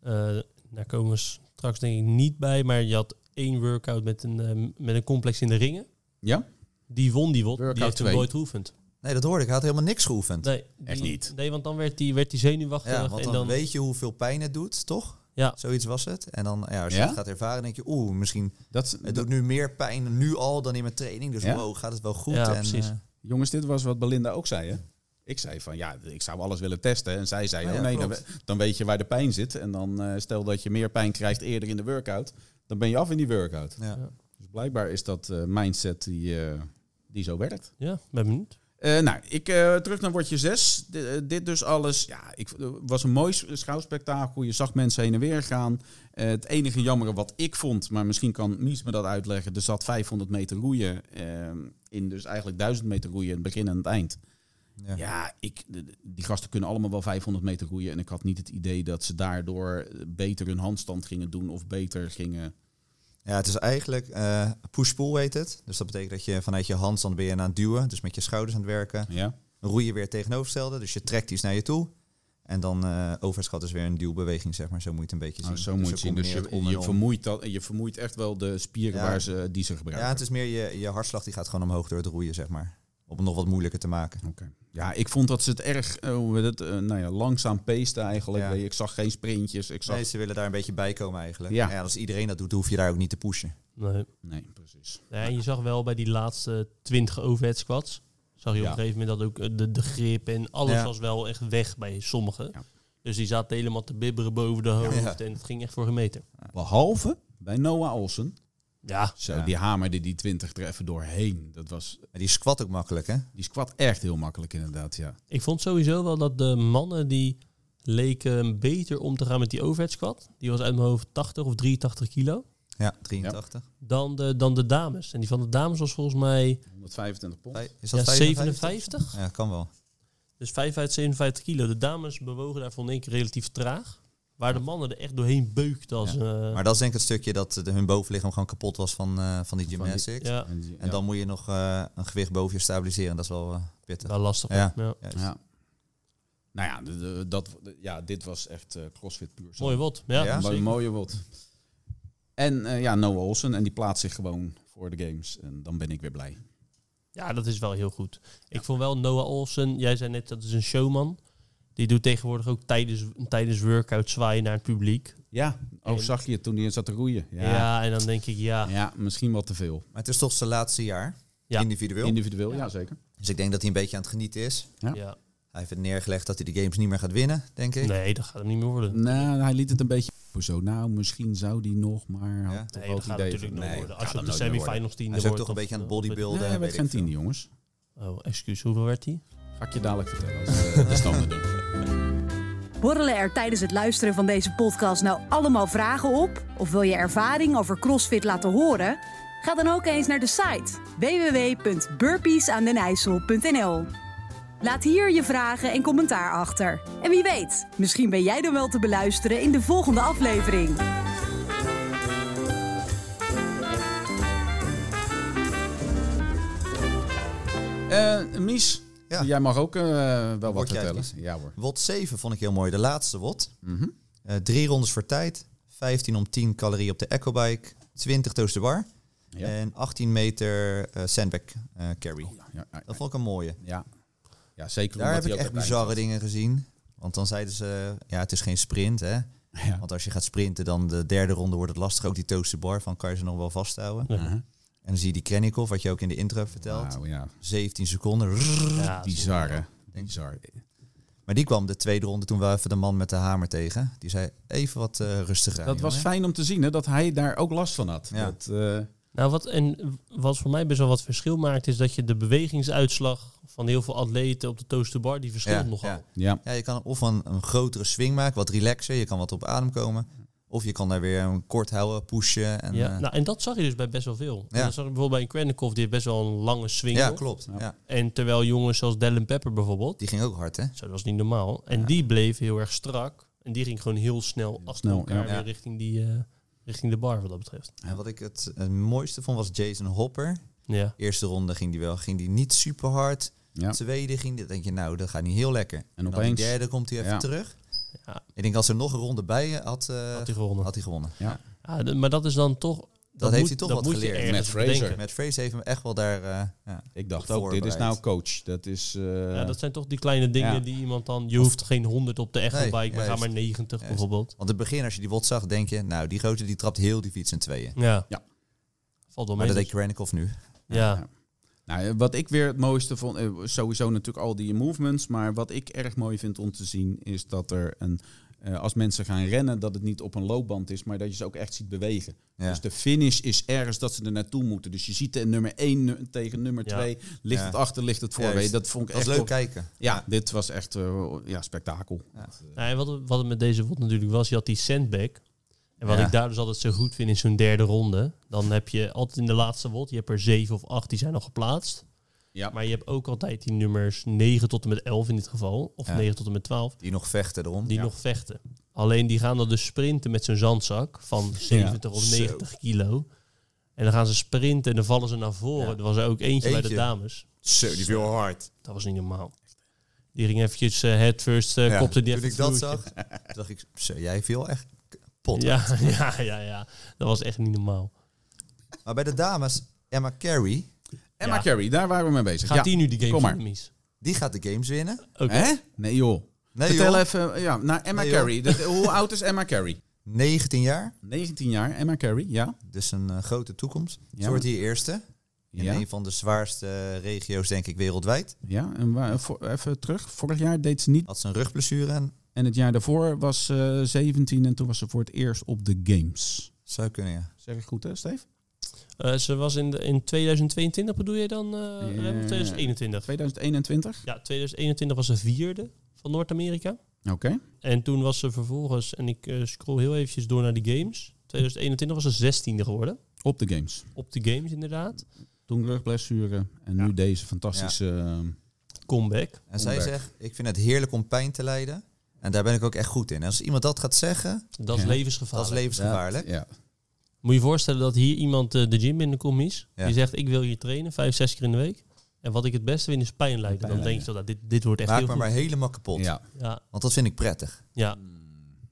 S2: Eh, daar komen we straks denk ik niet bij. Maar je had één workout met een, eh, met een complex in de ringen.
S4: Ja?
S2: Die won die WOT.
S4: Workout
S2: die heeft hem
S4: twee.
S2: nooit geoefend.
S3: Nee, dat hoorde ik. Hij had helemaal niks geoefend.
S2: Nee, die-
S4: Echt niet.
S2: Nee, want dan werd die, werd die zenuwachtig.
S3: Ja, want
S2: en
S3: dan,
S2: dan,
S3: weet je hoeveel pijn het doet, toch?
S2: Ja.
S3: Zoiets was het. En dan, ja, als je
S4: Ja?
S3: het gaat ervaren, denk je, oeh, misschien
S4: Dat, is-
S3: het doet nu meer pijn nu al dan in mijn training. Dus
S4: Ja?
S3: wow, gaat het wel goed?
S2: Ja,
S3: en,
S2: precies.
S3: eh,
S4: Jongens, dit was wat Belinda ook zei, hè? Ik zei van, ja, ik zou alles willen testen. En zij zei,
S3: Ja,
S4: oh nee, dan,
S3: klopt.
S4: we- dan weet je waar de pijn zit. En dan eh, stel dat je meer pijn krijgt eerder in de workout. Dan ben je af in die workout.
S3: ja.
S2: Ja.
S4: Dus blijkbaar is dat eh, mindset die, eh, die zo werkt.
S2: Ja, ben benieuwd.
S4: Eh, nou, ik, eh, terug naar woordje 6. dit dus alles. Ja, ik, eh, was een mooi s- schouwspektakel. Je zag mensen heen en weer gaan. Eh, het enige jammere wat ik vond, maar misschien kan Mies me dat uitleggen. Er zat 500 meter roeien eh, in, dus eigenlijk 1000 meter roeien, het begin en het eind. Ja,
S3: Ja.
S4: ik, de- de- die gasten kunnen allemaal wel 500 meter roeien. En ik had niet het idee dat ze daardoor beter hun handstand gingen doen of beter gingen.
S3: Ja, het is eigenlijk eh, push-pull heet het. Dus dat betekent dat je vanuit je handstand ben je aan het duwen. Dus met je schouders aan het werken.
S4: Ja,
S3: Roeien weer tegenovergestelde. Dus je trekt iets naar je toe. En dan eh overschat is weer een duwbeweging, zeg maar. Oh, Zo moet je het een beetje zien.
S4: nou, zo moet je het zien. Dus
S3: combineert
S4: je,
S3: om en
S4: je,
S3: om.
S4: vermoeit dat, je vermoeit echt wel de spieren
S3: Ja.
S4: waar ze, die ze
S3: Ja,
S4: gebruiken.
S3: het is meer je, je hartslag die gaat gewoon omhoog door het roeien, zeg maar. Om het nog wat moeilijker te maken.
S4: Oké. Ja, ik vond dat ze het erg eh, hoe heet het, eh, nou ja, langzaam peesten eigenlijk.
S3: Ja.
S4: Weet je, Ik zag geen sprintjes. Ik zag...
S3: Nee,
S4: Nee,
S3: ze willen daar een beetje bij komen eigenlijk.
S4: Ja.
S3: Ja. als iedereen dat doet, hoef je daar ook niet te pushen.
S2: Nee.
S4: precies.
S2: Ja, en je zag wel bij die laatste 20 overhead squats. Zag je op
S4: Ja.
S2: een gegeven moment dat ook eh, de, de grip en alles
S3: Ja.
S2: was wel echt weg bij sommigen.
S4: Ja.
S2: Dus die zaten helemaal te bibberen boven de hoofd. En het ging echt voor een meter.
S4: Behalve bij Noah Olsen.
S2: Ja,
S4: Zo,
S3: Ja.
S4: die hamerde die 20 er even doorheen. Dat was,
S3: Maar die squat ook makkelijk, hè?
S4: die squat echt heel makkelijk inderdaad, ja.
S2: ik vond sowieso wel dat de mannen die leken beter om te gaan met die overhead squat. Die was uit mijn hoofd 80 of 83 kilo.
S3: Ja, 83.
S2: Dan de, dan de dames. En die van de dames was volgens mij
S4: 125 pond.
S3: Vij- Is
S2: ja,
S3: 57?
S2: 57.
S3: Ja, kan wel.
S2: Dus 55, 57 kilo. De dames bewogen daar vond ik relatief traag. Waar de mannen er echt doorheen beukten als...
S3: Ja.
S2: eh,
S3: Maar dat is denk ik het stukje dat eh, hun bovenlichaam gewoon kapot was van, eh, van die
S4: Van die-
S3: gymnastics.
S2: ja,
S4: En, die-
S3: En dan moet je nog eh, een gewicht boven je stabiliseren. Dat is wel eh, pittig.
S2: wel lastig.
S3: Ja.
S2: ja.
S3: Juist.
S4: ja. Nou ja, de- de- dat, ja, dit was echt eh, crossfit puur. zo.
S2: Mooi wat. Ja,
S3: Ja?
S4: Mooi,
S2: zeker.
S4: mooie wot. En eh, ja, Noah Olsen. En die plaatst zich gewoon voor de games. En dan ben ik weer blij.
S2: ja, dat is wel heel goed. Ik vond wel Noah Olsen, jij zei net dat is een showman. Die doet tegenwoordig ook tijdens, tijdens workout zwaaien naar het publiek.
S4: Ja, oh,
S2: En-
S4: zag je het toen hij zat te roeien?
S2: Ja, en dan denk ik ja.
S4: ja misschien wat te veel.
S3: Maar het is toch zijn laatste jaar,
S2: Ja.
S3: individueel.
S4: Individueel, ja, zeker.
S3: dus ik denk dat hij een beetje aan het genieten is.
S2: Ja.
S4: Ja.
S3: Hij Hij heeft het neergelegd dat hij de games niet meer gaat winnen, denk ik.
S2: Nee, dat gaat hem niet meer worden.
S4: Nou, hij liet het een beetje zo. Nou, misschien zou die nog, maar had
S3: Ja.
S4: toch
S2: Nee,
S4: wel
S2: dat
S4: het
S2: gaat
S4: idee
S2: natuurlijk
S4: van-
S2: nooit
S3: nee,
S2: worden.
S3: dat
S2: Als
S3: gaat
S2: je op de
S3: hem nooit meer
S2: semifinals tiende
S3: Hij is ook
S2: wordt,
S3: toch een
S2: dan-
S3: beetje aan het
S2: dan-
S3: bodybuilden.
S4: Nee, hij werd
S3: weet
S4: geen
S3: ik veel.
S4: tiende, jongens.
S2: Oh, excuus, hoeveel werd hij?
S4: Ga ik je dadelijk vertellen *laughs* als we de standen doen.
S5: Borrelen er tijdens het luisteren van deze podcast nou allemaal vragen op? Of wil je ervaring over CrossFit laten horen? Ga dan ook eens naar de site www.burpeesaandenijssel.nl Laat hier je vragen en commentaar achter. En wie weet, misschien ben jij dan wel te beluisteren in de volgende aflevering.
S4: Eh, Mies,
S3: Ja.
S4: jij mag ook eh, wel wat
S3: Word jij het
S4: vertellen.
S3: liefst?
S4: Ja hoor.
S3: Wot 7 vond ik heel mooi. De laatste wot.
S4: Mhm.
S3: Eh, drie rondes voor tijd. 15 om 10 calorieën op de ecobike. 20 toast de bar.
S4: Ja. Oh,
S3: En 18 meter eh, sandbag eh, carry.
S4: Ja, ja, ja.
S3: Dat vond ik een mooie.
S4: ja. ja, zeker.
S3: Daar
S4: omdat
S3: heb ik
S4: hij ook
S3: echt
S4: erbij
S3: bizarre dingen gezien. Want dan zeiden ze, ja, het is geen sprint, hè.
S4: zat. Ja.
S3: Want als je gaat sprinten, dan de derde ronde wordt het lastig. Ook die toaster bar, van kan je ze nog wel vasthouden.
S2: Ja.
S4: Uh-huh.
S3: En dan zie je die Krennikov, wat je ook in de intro hebt verteld.
S4: Wauw, Nou, ja.
S3: 17 seconden. Rrrr.
S2: Ja, dat is-
S4: Bizar, hè? Bizar.
S3: Maar die kwam de tweede ronde toen wel even de man met de hamer tegen. Die zei, even wat eh rustiger aan,
S4: Dat was
S3: jongen.
S4: fijn om te zien, hè? Dat hij daar ook last van had.
S3: Ja.
S4: Dat, eh,
S2: Nou, wat, en wat voor mij best wel wat verschil maakt, is dat je de bewegingsuitslag van heel veel atleten op de toaster bar, die verschilt
S3: Ja,
S2: nogal.
S3: ja.
S4: ja.
S3: Ja, je kan of een, een grotere swing maken, wat relaxer. Je kan wat op adem komen. Of je kan daar weer een kort houden, pushen. En,
S2: ja.
S3: eh,
S2: nou, en dat zag je dus bij best wel veel. En
S3: Ja.
S2: Dat zag ik bijvoorbeeld bij een Krennikov, die heeft best wel een lange swing.
S3: ja,
S2: nog.
S3: klopt.
S4: Ja.
S3: Ja.
S2: En terwijl jongens zoals Dylan Pepper bijvoorbeeld,
S3: Die ging ook hard, hè?
S2: zo, dat is niet normaal. En die bleef heel erg strak. En die ging gewoon heel snel achter
S4: snel,
S2: elkaar
S4: ja.
S2: weer
S3: Ja.
S2: richting, die, eh, richting de bar, wat dat betreft.
S3: En wat ik het, het mooiste vond was Jason Hopper.
S2: Ja.
S3: Eerste ronde ging die wel, ging die niet super hard.
S4: ja.
S3: Tweede ging die, denk je, nou, dat gaat niet heel lekker. En, dan
S4: opeens-
S3: die derde komt hij even
S4: Ja.
S3: terug.
S2: Ja.
S3: Ik denk, als er nog een ronde bij je had, eh,
S2: Had hij gewonnen.
S3: had hij gewonnen.
S2: Ja, d- maar dat is dan toch... Dat,
S3: heeft
S2: moet-
S3: hij toch
S2: dat
S3: wat
S2: moet je
S3: geleerd.
S2: ergens
S4: Matt Fraser.
S2: bedenken.
S3: Met Fraser heeft hem echt wel daar... eh, ja.
S4: Ik dacht ook, dit is
S3: Voorbereid.
S4: nou coach. Dat is... eh,
S2: Ja, dat zijn toch die kleine dingen
S4: Ja.
S2: die iemand dan... Je hoeft geen 100 op de echte
S3: Nee,
S2: bike, maar ga
S3: juist.
S2: maar 90
S3: Juist.
S2: bijvoorbeeld.
S3: Want in het begin, als je die wot zag, denk je... Nou, die grote die trapt heel die fiets in tweeën.
S2: Ja.
S4: Ja.
S2: Valt wel
S3: Maar
S2: mee.
S3: dat deed
S2: dus.
S3: Krennikov nu.
S2: Ja.
S4: Nou, eh, wat ik weer het mooiste vond, eh, sowieso natuurlijk al die movements, maar wat ik erg mooi vind om te zien is dat er een, eh, als mensen gaan rennen, dat het niet op een loopband is, maar dat je ze ook echt ziet bewegen.
S3: Ja.
S4: Dus de finish is ergens dat ze er naartoe moeten. Dus je ziet de nummer 1 tegen nummer
S2: Ja.
S4: 2, ligt
S3: Ja.
S4: het achter, ligt het voor.
S3: Juist.
S4: Weet je, Dat vond ik
S3: Dat was
S4: echt
S3: leuk
S4: wel-
S3: kijken.
S4: Ja, dit was echt eh, ja, spektakel.
S2: Nou, en wat, het- wat het met deze WOD natuurlijk was, je had die sandbag. En wat
S3: Ja.
S2: ik daar dus altijd zo goed vind in zo'n derde ronde, dan heb je altijd in de laatste WOD, je hebt er 7 of 8 die zijn al geplaatst.
S4: Ja.
S2: Maar je hebt ook altijd die nummers 9 tot en met 11 in dit geval, of
S3: Ja.
S2: 9 tot en met 12,
S3: Die nog vechten erom.
S2: die
S4: Ja.
S2: nog vechten. Alleen die gaan dan dus sprinten met zo'n zandzak van 70 of
S4: Zo.
S2: 90 kilo. En dan gaan ze sprinten en dan vallen ze naar voren.
S3: Ja.
S2: Er was er ook eentje, bij de
S3: Eentje.
S2: dames.
S3: Zo, die viel hard.
S2: Dat was niet normaal. Die ging eventjes eh, headfirst, eh,
S3: Ja,
S2: kopte die
S3: Toen
S2: even
S3: ik dat
S2: het
S3: zag,
S2: vloertje.
S3: toen dacht ik... Zo, jij viel echt kapot.
S2: Ja, *laughs* ja, ja, ja. Dat was echt niet normaal.
S3: Maar bij de dames, Emma Carey...
S4: Emma
S2: Ja.
S4: Carey, daar waren we mee bezig.
S2: Gaat
S4: ja.
S2: die nu die
S4: kom
S2: game
S4: maar.
S2: voor de mis?
S3: Die gaat de games winnen.
S2: Oké.
S4: Hè? Nee joh.
S3: Nee,
S4: Vertel
S3: joh.
S4: even, ja, nou Emma
S3: Nee, joh.
S4: Carey. Dat- hoe oud is Emma Carey?
S3: 19 jaar.
S4: 19 jaar, Emma Carey, ja.
S3: Dus een eh, grote toekomst.
S4: Ja.
S3: Ze wordt hier eerste. In
S4: ja.
S3: een van de zwaarste eh, regio's, denk ik, wereldwijd.
S4: Ja, en waar, voor- even terug. Vorig jaar deed ze niet.
S3: Had ze een rugblessure en
S4: En het jaar daarvoor was ze 17 en toen was ze voor het eerst op de Games.
S3: zou kunnen, ja.
S4: Zeg ik goed, hè, Steve?
S2: Eh, ze was in, de, in 2022, bedoel je dan? eh Rem, of 2021?
S4: 2021.
S2: Ja, 2021 was ze vierde van Noord-Amerika.
S4: Oké.
S2: En toen was ze vervolgens, en ik eh, scroll heel eventjes door naar de games. 2021 was ze zestiende geworden.
S4: Op de Games.
S2: Op de games inderdaad.
S4: Toen rugblessure en nu deze fantastische. ehm,
S2: Comeback.
S3: En zij
S4: Onderberg.
S3: zegt, ik vind het heerlijk om pijn te lijden. En daar ben ik ook echt goed in. En als iemand dat gaat zeggen,
S2: Dat is
S4: Ja.
S3: dat
S2: levensgevaarlijk.
S3: is levensgevaarlijk.
S4: Ja.
S2: Moet je je voorstellen dat hier iemand eh, de gym binnenkomt is.
S3: Ja.
S2: Die zegt, ik wil hier trainen, vijf, zes keer in de week. En wat ik het beste vind is pijn lijden. Dan
S4: Pijn
S2: denk je, zo, nou, dit, dit wordt echt
S3: Maak
S2: heel
S3: me
S2: goed.
S3: maar helemaal kapot.
S4: Ja.
S2: Ja,
S3: Want dat vind ik prettig.
S2: ja.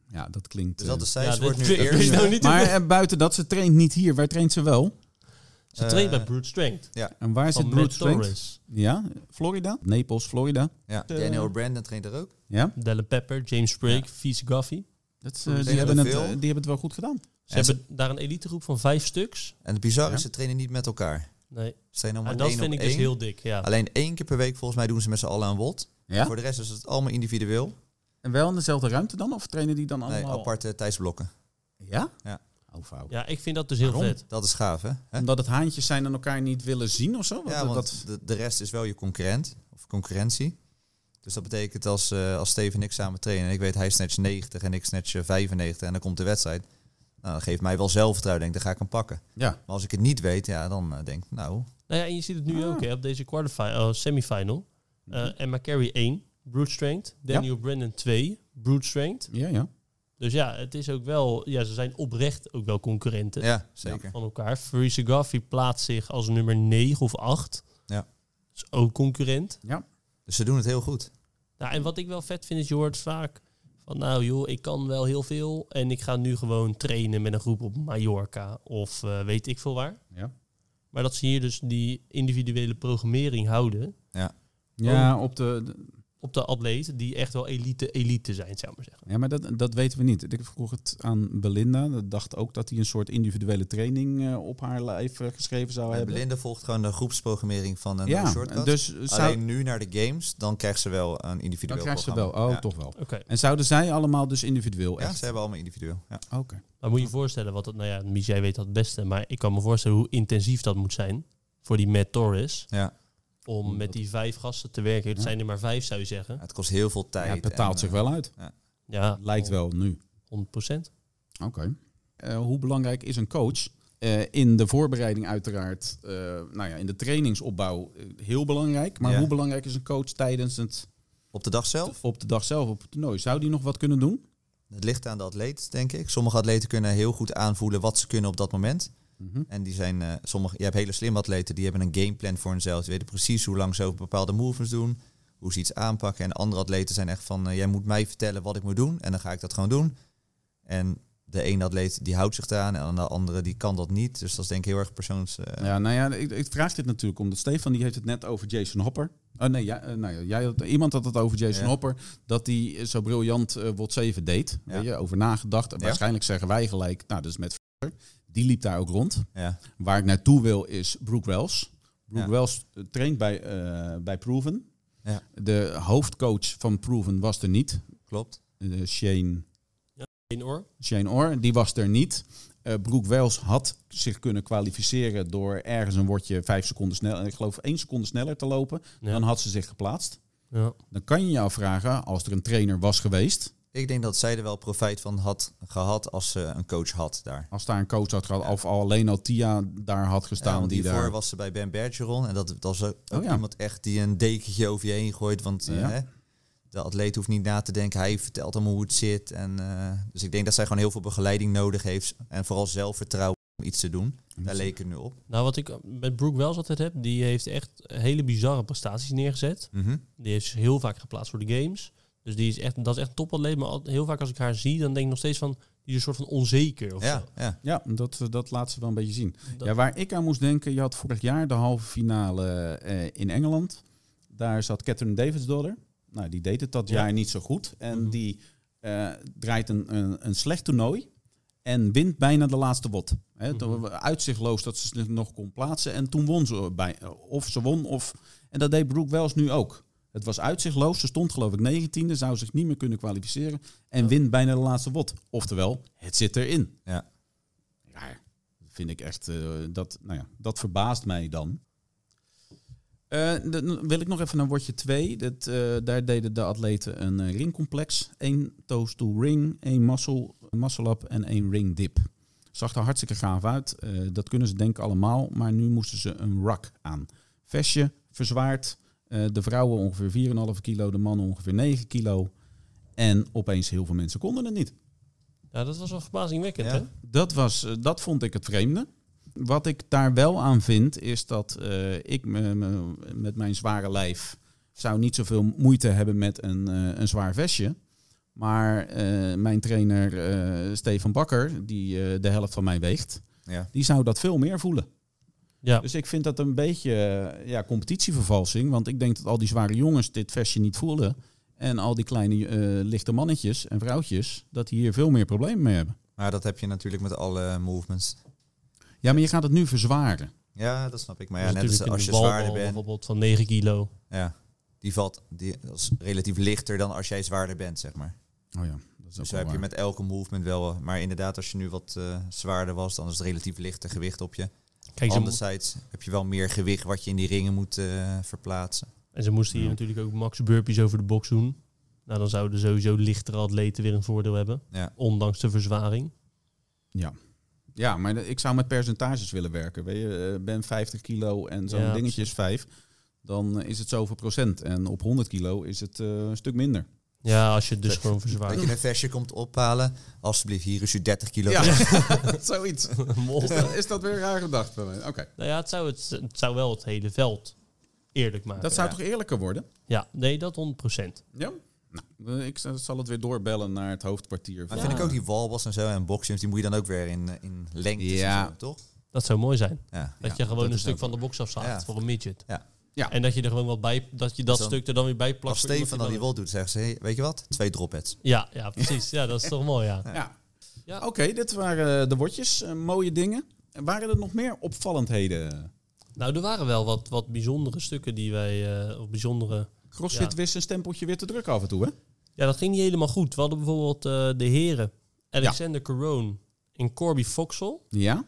S4: ja, dat klinkt. eh,
S3: Dus dat is zij,
S2: Ja,
S3: ze wordt
S2: dit-
S3: nu
S2: dit-
S3: eerst.
S2: dit- nou niet-
S4: maar eh, buiten dat, ze traint niet hier. Waar traint ze wel?
S2: Ze traint
S3: Eh,
S2: bij Brute Strength.
S4: En
S2: Van
S4: waar zit
S2: Matt
S4: Brute Strength?
S2: Torres.
S4: Ja, Florida. Naples, Florida.
S3: Ja.
S4: Eh,
S3: Daniel Brandon traint er ook.
S4: Ja,
S2: Delle Pepper, James Brake, Vies Gaffy.
S4: dat, is, eh,
S3: Zijn
S4: die,
S3: er
S4: hebben het,
S3: veel?
S4: eh, die hebben het wel goed gedaan.
S2: Ze
S3: En ze-
S2: hebben daar een elitegroep van vijf stuks.
S3: En het bizarre
S4: Ja.
S3: is, ze trainen niet met elkaar.
S2: Nee.
S3: Ze trainen
S2: En
S3: allemaal
S2: dat
S3: één
S2: vind
S3: op
S2: ik
S3: één.
S2: dus heel dik. Ja.
S3: Alleen één keer per week, volgens mij, doen ze met z'n allen een wot.
S4: Ja?
S3: Voor de rest is het allemaal individueel.
S4: En wel in dezelfde ruimte dan? Of trainen die dan
S3: Nee,
S4: allemaal?
S3: aparte tijdsblokken.
S4: Ja?
S3: Ja.
S4: Oh, fout.
S2: Ja, ik vind dat dus heel
S4: Waarom?
S2: vet.
S3: Dat is gaaf, hè? Hè?
S4: Omdat het haantjes zijn en elkaar niet willen zien of zo? Want
S3: Ja, want
S4: dat,
S3: de, de rest is wel je concurrent of concurrentie. Dus dat betekent als, eh, als Steve en ik samen trainen en ik weet hij snatcht 90 en ik snatch eh, 95 en dan komt de wedstrijd. Nou, dat geeft mij wel zelfvertrouwen. Denk, dan ga ik hem pakken.
S4: ja.
S3: Maar als ik het niet weet, ja, dan eh, denk ik, nou,
S2: Nou ja, en je ziet het nu
S3: Ah.
S2: ook hè, op deze quarterfinal, eh, semifinal.
S3: Mhm.
S2: Eh Emma Carey 1, Brute Strength. Daniel Brandon 2, Brute Strength.
S4: Ja, ja.
S2: Dus ja, het is ook wel... Ja, ze zijn oprecht ook wel concurrenten
S3: ja, zeker.
S2: van elkaar. Farisa Gaffey plaatst zich als nummer 9 of 8.
S3: Ja.
S2: Is ook concurrent.
S4: ja.
S3: Dus ze doen het heel goed.
S2: Nou, en wat ik wel vet vind, is je hoort vaak van... Nou joh, ik kan wel heel veel en ik ga nu gewoon trainen met een groep op Mallorca. Of eh, weet ik veel waar.
S4: Ja.
S2: Maar dat ze hier dus die individuele programmering houden...
S4: Ja, op de, de-
S2: op de atleten die echt wel elite, elite zijn, zou ik maar zeggen.
S4: ja, maar dat, dat weten we niet. Ik vroeg het aan Belinda. Dat dacht ook dat hij een soort individuele training eh, op haar lijf eh, geschreven zou
S3: Belinda
S4: hebben.
S3: Belinda volgt gewoon de groepsprogrammering van een eh,
S4: ja,
S3: shortcut.
S4: dus zou,
S3: Alleen nu naar de games, dan krijgt ze wel een individueel
S4: dan krijgt ze wel.
S3: programma.
S4: Oh,
S3: ja.
S4: toch wel.
S2: Oké,
S4: En zouden zij allemaal dus individueel?
S3: Ja,
S4: Echt?
S3: ze hebben allemaal individueel. Ja.
S4: Oké.
S2: maar moet je je voorstellen wat dat... Nou ja, Mies, jij weet dat het beste, maar ik kan me voorstellen hoe intensief dat moet zijn voor die Matt Torres.
S3: Ja.
S2: Om met die vijf gasten te werken. Het
S4: Mm. Ja.
S2: zijn er maar vijf, zou je zeggen.
S3: Het kost heel veel tijd.
S4: Ja, het betaalt
S3: en,
S4: zich
S3: eh,
S4: wel uit.
S2: Ja,
S4: Lijkt wel nu.
S2: 100 procent.
S4: Oké. Eh, hoe belangrijk is een coach? Eh, in de voorbereiding uiteraard, eh, nou ja, in de trainingsopbouw eh, heel belangrijk. Maar
S3: Ja.
S4: hoe belangrijk is een coach tijdens het
S3: Op de dag zelf?
S4: op de dag zelf op het toernooi? Zou die nog wat kunnen doen?
S3: Het ligt aan de atleet, denk ik. Sommige atleten kunnen heel goed aanvoelen wat ze kunnen op dat moment.
S4: Mhm.
S3: En die zijn, eh, sommige, je hebt hele slimme atleten, die hebben een gameplan voor hunzelf. Die weten precies hoe lang ze over bepaalde movements doen, hoe ze iets aanpakken. En andere atleten zijn echt van, eh, jij moet mij vertellen wat ik moet doen en dan ga ik dat gewoon doen. En de ene atleet die houdt zich eraan en de andere die kan dat niet. Dus dat is denk ik heel erg persoons... eh,
S4: Ja, nou ja, ik, ik vraag dit natuurlijk omdat Stefan die heeft het net over Jason Hopper. Oh nee, ja, eh, nou ja, jij had, iemand had het over Jason
S3: Ja.
S4: Hopper. Dat hij eh, zo briljant eh WOT 7 deed.
S3: Ja.
S4: Weet je, over nagedacht. En
S3: Ja.
S4: Waarschijnlijk zeggen wij gelijk, nou dus met die liep daar ook rond.
S3: ja.
S4: Waar ik naartoe wil is Brooke Wells. Brooke
S3: Ja.
S4: Wells eh, traint bij, eh, bij Proven.
S3: Ja.
S4: De hoofdcoach van Proven was er niet.
S3: Klopt.
S4: Eh, Shane,
S2: In oor.
S4: Shane Orr, die was er niet. Eh Brooke Wells had zich kunnen kwalificeren door ergens een woordje vijf seconden sneller, ik geloof één seconde sneller te lopen.
S2: Ja.
S4: Dan had ze zich geplaatst.
S2: Ja.
S4: Dan kan je je afvragen, als er een trainer was geweest,
S3: Ik denk dat zij er wel profijt van had gehad als ze een coach had daar.
S4: als daar een coach had gehad, of al alleen al Tia daar had
S3: Ja,
S4: gestaan.
S3: want
S4: die
S3: hiervoor
S4: daar...
S3: was ze bij Ben Bergeron. En dat, dat was ook
S2: Oh
S3: ook
S4: ja.
S3: iemand echt die een dekentje over je heen gooit. Want eh,
S4: Ja.
S3: hè, de atleet hoeft niet na te denken. Hij vertelt hem hoe het zit. En, eh, dus ik denk dat zij gewoon heel veel begeleiding nodig heeft. En vooral zelfvertrouwen om iets te doen. Daar leek het nu op.
S2: Nou, wat ik met Brooke Wells altijd heb, die heeft echt hele bizarre prestaties neergezet. Die heeft zich heel vaak geplaatst voor de games. Dus die is echt, dat is echt een topatleet. Maar al- heel vaak als ik haar zie, dan denk ik nog steeds van, die is een soort van onzeker of
S3: Ja,
S2: zo.
S3: ja.
S4: Ja, dat, eh, dat laat ze wel een beetje zien.
S2: Dat-
S4: Ja, waar ik aan moest denken, je had vorig jaar de halve finale eh, in Engeland. Daar zat Catherine Davids dollar. Nou, die deed het dat
S2: Ja.
S4: jaar niet zo goed. En
S2: Mhm.
S4: die eh, draait een, een, een slecht toernooi en wint bijna de laatste wot. Hè, toen
S2: Mhm.
S4: we- Uitzichtloos dat ze zich nog kon plaatsen. En toen won ze bij, eh, of ze won of... En dat deed Brooke Wells nu ook. Het was uitzichtloos. Ze stond geloof ik 19e, zou zich niet meer kunnen kwalificeren. En wint bijna de laatste wot. Oftewel, het zit erin.
S3: Ja.
S4: Raar. Vind ik echt, eh, dat, nou ja, dat verbaast mij dan. Eh, dan wil ik nog even naar woordje 2. Dat, eh, daar deden de atleten een eh, ringcomplex. Eén toast to ring, één muscle, muscle up en één ring dip. Zag er hartstikke gaaf uit. Eh, dat kunnen ze denk ik allemaal. Maar nu moesten ze een rack aan. Vestje, verzwaard. Eh, de vrouwen ongeveer 4,5 kilo, de mannen ongeveer 9 kilo. En opeens heel veel mensen konden het niet.
S2: Ja, dat was wel verbazingwekkend,
S3: Ja.
S2: hè?
S4: Dat, was, eh, dat vond ik het vreemde. Wat ik daar wel aan vind, is dat eh, ik me, me- met mijn zware lijf zou niet zoveel moeite hebben met een, eh, een zwaar vestje. Maar eh, mijn trainer eh, Stefan Bakker, die eh, de helft van mij weegt,
S3: ja.
S4: die zou dat veel meer voelen.
S2: Ja.
S4: Dus ik vind dat een beetje eh, ja, competitievervalsing. Want ik denk dat al die zware jongens dit vestje niet voelen. En al die kleine eh, lichte mannetjes en vrouwtjes, dat die hier veel meer problemen mee hebben.
S3: Maar dat heb je natuurlijk met alle movements.
S4: Ja, maar je gaat het nu verzwaren.
S3: Nou Ja, dat snap ik. Maar ja,
S2: Dus
S3: net als,
S2: natuurlijk
S3: als je
S2: een balbal
S3: zwaarder bent.
S2: bijvoorbeeld van 9 kilo.
S3: Ja. die valt die, dat is relatief lichter dan als jij zwaarder bent, zeg maar.
S4: Oh ja, dat is ook
S3: Dus zo
S4: wel
S3: heb je
S4: waar.
S3: met elke movement wel... eh, Maar inderdaad, als je nu wat eh, zwaarder was, dan is het relatief lichter gewicht op je.
S2: Kijk, ze, mo-
S3: Anderzijds heb je wel meer gewicht wat je in die ringen moet eh, verplaatsen.
S2: en ze moesten hier
S4: Ja.
S2: natuurlijk ook max burpees over de box doen. Nou, dan zouden sowieso lichtere atleten weer een voordeel hebben.
S3: Ja.
S2: Ondanks de verzwaring.
S4: Ja, maar de- ik zou met percentages willen werken. Weet je, eh, ben 50 kilo en zo'n
S2: Ja,
S4: dingetje is 5. Dan eh, is het zoveel procent. En op 100 kilo is het eh, een stuk minder.
S2: Ja, als je het dus
S3: Dat-
S2: gewoon
S3: Dat *laughs*
S2: verzwaart.
S3: je een versje komt ophalen. Alsjeblieft, hier is je 30 kilo.
S4: Ja,
S3: *laughs*
S4: *laughs* zoiets.
S2: Mol.
S4: Is dat, is dat weer raar gedacht van mij? Oké.
S2: nou ja, het zou, het, het zou wel het hele veld eerlijk maken.
S4: Dat zou
S3: Ja.
S4: toch eerlijker worden?
S2: Ja, nee, dat 100%.
S4: Ja. Nou, eh, ik z- zal het weer doorbellen naar het hoofdkwartier.
S3: Maar
S4: van-
S3: vind ik ook die wallballs en zo en boxings, die moet je dan ook weer in, eh, in lengte
S4: Ja.
S3: toch?
S2: Dat zou mooi zijn.
S3: Ja.
S2: Dat
S4: Ja,
S2: je
S4: dat
S2: gewoon een
S4: is
S2: stuk
S4: ook
S2: van de box afzaagt
S3: Ja.
S2: voor een midget.
S3: Ja.
S4: Ja.
S2: En dat je er gewoon wat bij, dat je dat
S3: Dus dan-
S2: stuk er dan weer bij plakt.
S3: Als
S2: voor iemand
S3: Steven dan die
S2: dan-
S3: wall doet, zeggen ze, hey, weet je wat? Twee dropheads.
S2: Ja, ja,
S4: *laughs*
S2: precies. Ja, dat is toch mooi, ja.
S4: Ja.
S2: Ja.
S4: Oké, dit waren de wotjes. Eh, mooie dingen. En Waren er nog meer opvallendheden?
S2: Nou, er waren wel wat, wat bijzondere stukken die wij, eh, of bijzondere...
S4: CrossFit
S2: Ja.
S4: wist een stempeltje weer te druk af en toe, hè?
S2: Ja, dat ging niet helemaal goed. We hadden bijvoorbeeld eh, de heren Alexander Caron en Corby Foxel.
S4: Ja.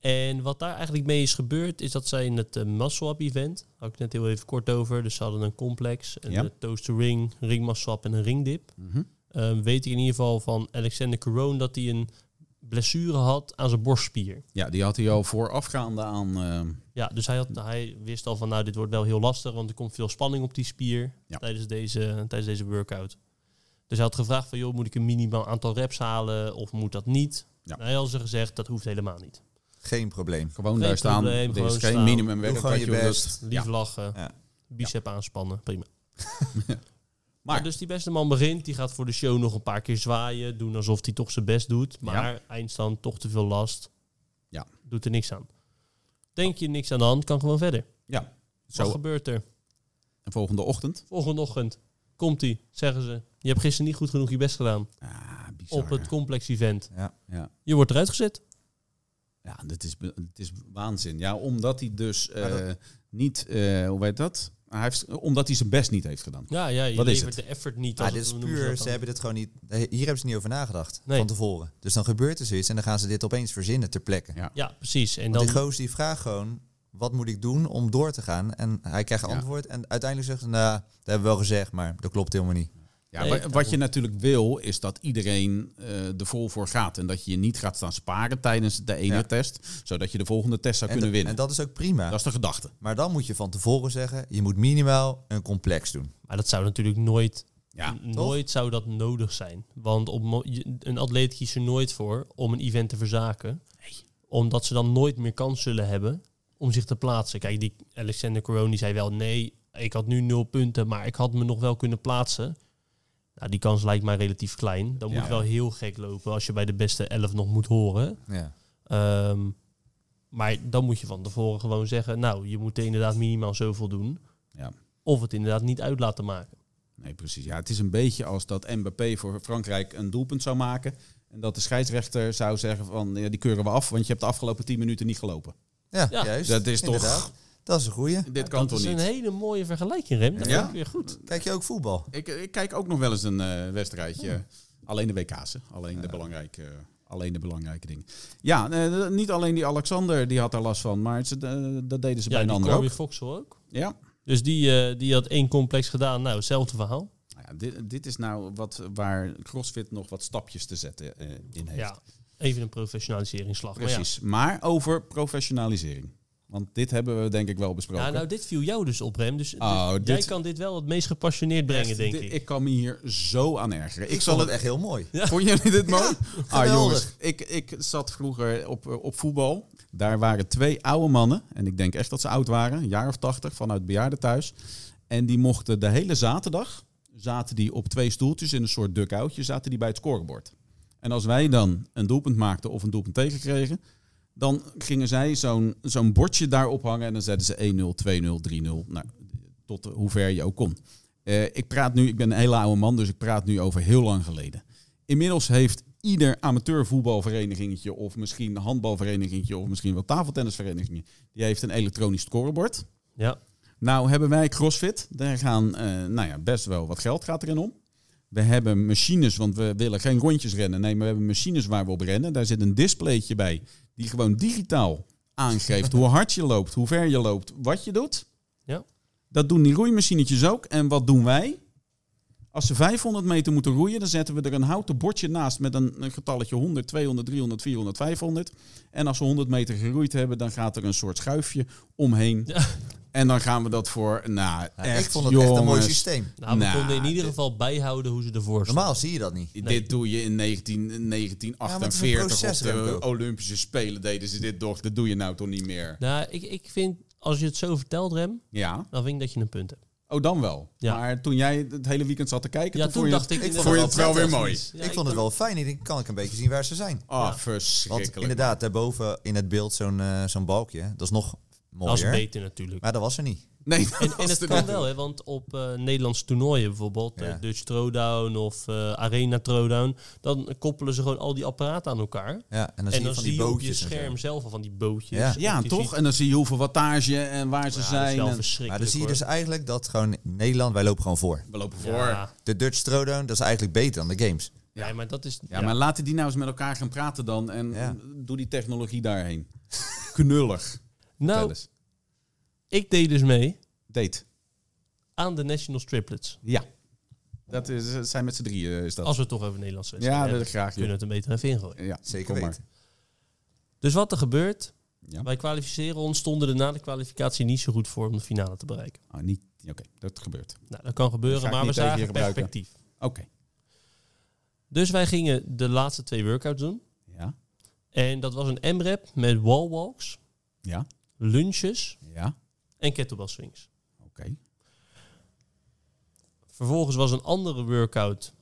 S2: En wat daar eigenlijk mee is gebeurd, is dat zij in het eh, Muscle Up event, had ik net heel even kort over, dus ze hadden een complex, een
S4: Ja.
S2: eh, toast to ring, ring muscle up en een ringdip.
S4: Mhm.
S2: Ehm, weet ik in ieder geval van Alexander Caron dat hij een blessure had aan zijn borstspier.
S4: Ja, die had hij al voorafgaande aan... eh,
S2: Ja, dus hij, had, hij wist al van nou, dit wordt wel heel lastig, want er komt veel spanning op die spier
S4: Ja.
S2: tijdens, deze, tijdens deze workout. Dus hij had gevraagd van joh, moet ik een minimaal aantal reps halen of moet dat niet?
S4: Ja.
S2: Nou, hij had ze gezegd, dat hoeft helemaal niet.
S3: Geen probleem.
S4: Gewoon
S2: Geen
S4: daar staan.
S2: probleem,
S4: er
S2: gewoon
S4: is geen
S2: staan.
S4: minimum
S3: Doe
S4: werk.
S3: gewoon je best.
S2: Lief lachen,
S3: Ja.
S2: bicep aanspannen,
S3: *laughs*
S2: prima.
S4: Maar-
S2: Maar dus die beste man begint, die gaat voor de show nog een paar keer zwaaien, doen alsof hij toch zijn best doet, maar eindstand toch te veel last.
S4: Ja.
S2: Doet er niks aan. Denk je niks aan de hand, kan gewoon verder.
S4: Ja.
S2: Zo. Wat
S4: Zo,
S2: gebeurt er?
S4: en volgende ochtend.
S2: Volgende ochtend komt hij, zeggen ze. Je hebt gisteren niet goed genoeg je best gedaan
S4: Ah, bizar.
S2: op het
S4: hè?
S2: complex event.
S4: ja.
S2: Je wordt eruit gezet.
S4: ja, dit is, be- dit is waanzin. Ja, omdat hij dus eh,
S3: Maar dat-
S4: niet... eh, hoe heet dat? Hij heeft, omdat hij zijn best niet heeft gedaan.
S2: Ja, ja je
S4: Wat is
S2: levert de effort niet.
S3: Ah,
S2: als
S3: dit
S2: het-
S3: is
S2: hoe noemen
S3: puur,
S2: dat
S3: ze
S2: dan?
S3: hebben dit gewoon niet, hier hebben ze niet over nagedacht
S2: Nee.
S3: van tevoren. Dus dan gebeurt er zoiets en dan gaan ze dit opeens verzinnen ter plekke.
S4: Ja.
S2: Ja, precies. En
S3: Want
S2: dan,
S3: die goos die vraagt gewoon, wat moet ik doen om door te gaan? En hij krijgt
S4: Ja.
S3: antwoord en uiteindelijk zegt ze, nou, dat hebben we wel gezegd, maar dat klopt helemaal niet.
S4: Ja,
S2: Nee,
S4: wa-
S2: daarom.
S4: wat je natuurlijk wil, is dat iedereen eh, er vol voor gaat. En dat je je niet gaat staan sparen tijdens de ene
S3: Ja.
S4: test. Zodat je de volgende test zou
S3: En,
S4: kunnen
S3: da-
S4: winnen.
S3: en
S4: Dat,
S3: dat is ook prima.
S4: is de gedachte.
S3: Maar dan moet je van tevoren zeggen, je moet minimaal een complex doen.
S2: maar dat zou natuurlijk nooit,
S4: Ja,
S2: n- nooit zou dat nodig zijn. Want op, mo- je- een atleet kiest er nooit voor om een event te verzaken. Omdat ze dan nooit meer kans zullen hebben om zich te plaatsen. Kijk, die Alexander Coroni die zei wel nee, ik had nu nul punten, maar ik had me nog wel kunnen plaatsen. Nou, die kans lijkt mij relatief klein. Dan moet
S4: Ja.
S2: het wel heel gek lopen als je bij de beste 11 nog moet horen.
S3: Ja.
S2: Ehm, maar dan moet je van tevoren gewoon zeggen, nou, je moet er inderdaad minimaal zoveel doen.
S4: Ja.
S2: Of het inderdaad niet uit laten maken.
S4: nee, precies. Ja, het is een beetje als dat Mbappé voor Frankrijk een doelpunt zou maken. En dat de scheidsrechter zou zeggen van, ja, die keuren we af, want je hebt de afgelopen 10 minuten niet gelopen.
S3: Ja,
S2: Ja,
S3: juist.
S4: dat is toch-
S3: Inderdaad. Dat is een goeie.
S4: Dit kan
S2: dat
S4: toch
S2: is
S4: niet?
S2: een hele mooie vergelijking, Rem. Dat
S4: Ja?
S2: vind ik weer goed.
S3: Kijk je ook voetbal?
S4: Ik, ik kijk ook nog wel eens een eh, wedstrijdje. Alleen de WK's, hè. alleen de belangrijke... eh, Alleen de belangrijke dingen. Ja, eh, niet alleen die Alexander, die had daar last van. Maar ze, eh, dat deden ze bij
S2: Ja,
S4: een
S2: die
S4: ander
S2: Corby
S4: ook.
S2: Foxel ook.
S4: Ja.
S2: Dus die, eh, die had één complex gedaan. Nou, hetzelfde verhaal.
S4: Nou Ja, dit, dit is nou wat, waar CrossFit nog wat stapjes te zetten eh, in heeft.
S2: Ja, even een professionaliseringsslag. Maar ja.
S4: Precies. Maar over professionalisering. Want dit hebben we denk ik wel
S2: Ja,
S4: besproken.
S2: nou, dit viel jou dus op, Rem. Dus, dus
S4: Oh,
S2: jij
S4: dit-
S2: kan dit wel het meest gepassioneerd brengen,
S4: Echt,
S2: denk
S4: dit-
S2: ik.
S4: Ik kan me hier zo aan ergeren. Ik,
S3: Ik
S4: zal
S3: vond
S4: het
S3: het echt heel mooi.
S4: Vond jullie dit mooi? ah
S3: geweldig.
S4: jongens, ik, ik zat vroeger op, eh, op voetbal. Daar waren twee oude mannen. En ik denk echt dat ze oud waren. Een jaar of tachtig, vanuit bejaardentehuis. En die mochten de hele zaterdag... zaten die op twee stoeltjes in een soort duckoutje... zaten die bij het scorebord. En als wij dan een doelpunt maakten of een doelpunt tegenkregen... dan gingen zij zo'n zo'n bordje daar ophangen... en dan zetten ze 1-0, 2-0, 3-0. Nou, tot hoe ver je ook kon. Eh, ik praat nu, ik ben een hele oude man, dus ik praat nu over heel lang geleden. Inmiddels heeft ieder amateurvoetbalverenigingetje of misschien een handbalverenigingetje of misschien wel tafeltennisverenigingen, die heeft een elektronisch scorebord.
S2: Ja,
S4: Nou hebben wij CrossFit. Daar gaan eh, nou ja, best wel wat geld gaat erin om. We hebben machines, want we willen geen rondjes rennen. Nee, maar we hebben machines waar we op rennen. Daar zit een displaytje bij die gewoon digitaal aangeeft hoe hard je loopt, hoe ver je loopt, wat je doet.
S2: Ja.
S4: Dat doen die roeimachinetjes ook. En wat doen wij? Als ze 500 meter moeten roeien, dan zetten we er een houten bordje naast met een, een getalletje 100, 200, 300, 400, 500. En als ze 100 meter geroeid hebben, dan gaat er een soort schuifje omheen.
S2: Ja.
S4: En dan gaan we dat voor, nou,
S3: Ja,
S4: echt,
S3: ik vond het echt een mooi
S4: jongens.
S3: systeem.
S2: Nou, we
S4: Nou,
S2: konden in ieder
S4: dit-
S2: geval bijhouden hoe ze ervoor staan.
S3: Normaal zie je dat niet.
S4: Dit doe je in 19,
S3: Ja, maar het is een
S4: 1948
S3: proces,
S4: op de
S3: Remco.
S4: Olympische Spelen deden ze dit toch. Dat doe je nou toch niet meer.
S2: Nou, ik, ik vind, als je het zo vertelt, Rem,
S4: Ja.
S2: dan vind ik dat je een punt hebt.
S4: Oh, dan wel.
S2: Ja.
S4: Maar toen jij het hele weekend zat te kijken,
S2: Ja,
S4: toen,
S2: toen
S4: vond je
S2: dacht ik...
S3: ik
S2: inderdaad-
S4: vond je het wel weer mooi.
S2: Ja,
S3: ik vond het wel fijn. Ik denk, kan ik een beetje zien waar ze zijn.
S4: Ah,
S2: Ja.
S4: verschrikkelijk.
S3: Want inderdaad, daarboven in het beeld zo'n eh, zo'n balkje. Dat is nog
S2: Dat is
S3: mooier.
S2: beter natuurlijk.
S3: Maar dat was er niet.
S2: *laughs*
S4: Nee, dat
S2: En,
S4: was
S2: en het
S4: er
S2: kan
S4: net.
S2: wel, hè, want op eh Nederlands toernooien bijvoorbeeld,
S3: Ja.
S2: eh, Dutch Throwdown of eh, Arena Throwdown, dan koppelen ze gewoon al die apparaten aan elkaar.
S3: Ja, en dan
S2: en
S3: zie
S2: dan
S3: je van die
S2: op je
S3: bootjes. en zo.
S2: scherm zelf al van die bootjes.
S3: Ja.
S2: Of
S4: Ja,
S2: je
S4: toch?
S2: ziet-
S4: En dan zie je hoeveel wattage en waar ze
S2: Ja, dat is
S4: zijn. eh,
S2: wel
S4: en-
S3: Maar
S2: verschrikkelijk.
S3: dan zie je
S2: hoor.
S3: dus eigenlijk dat gewoon Nederland, wij lopen gewoon voor.
S4: We lopen voor. Ja.
S2: Ja,
S3: De Dutch Throwdown, dat is eigenlijk beter dan de
S2: *laughs*
S3: games.
S2: ja. maar dat is... ja.
S4: maar laten die nou eens met elkaar gaan praten dan. En
S3: Ja.
S4: doe die technologie daarheen. Knullig. Vertel
S2: *laughs* Nou,
S4: eens.
S2: ik deed dus mee
S4: Date.
S2: aan de National Striplets.
S4: Ja. Dat is, eh, zijn met z'n drieën, is dat.
S2: Als we het toch over Nederlands zijn.
S4: Ja, dat
S2: Kunnen
S4: graag. joh.
S2: we het een beter even ingooien.
S4: Ja,
S3: Zeker
S4: kom maar.
S3: weten.
S2: Dus wat er gebeurt,
S4: Ja.
S2: wij kwalificeren ons, stonden er na de kwalificatie niet zo goed voor om de finale te bereiken.
S4: Ah, niet. Oké, dat gebeurt.
S2: Nou, dat kan
S4: Dat ga
S2: gebeuren,
S4: ik
S2: maar we
S4: niet tegen je
S2: zagen
S4: gebruiken.
S2: perspectief.
S4: Oké.
S2: Dus wij gingen de laatste twee workouts doen.
S4: Ja.
S2: En dat was een M-rap met wall walks,
S4: Ja.
S2: lunches
S4: Ja.
S2: en kettlebell swings.
S4: Oké.
S2: Vervolgens was een andere workout.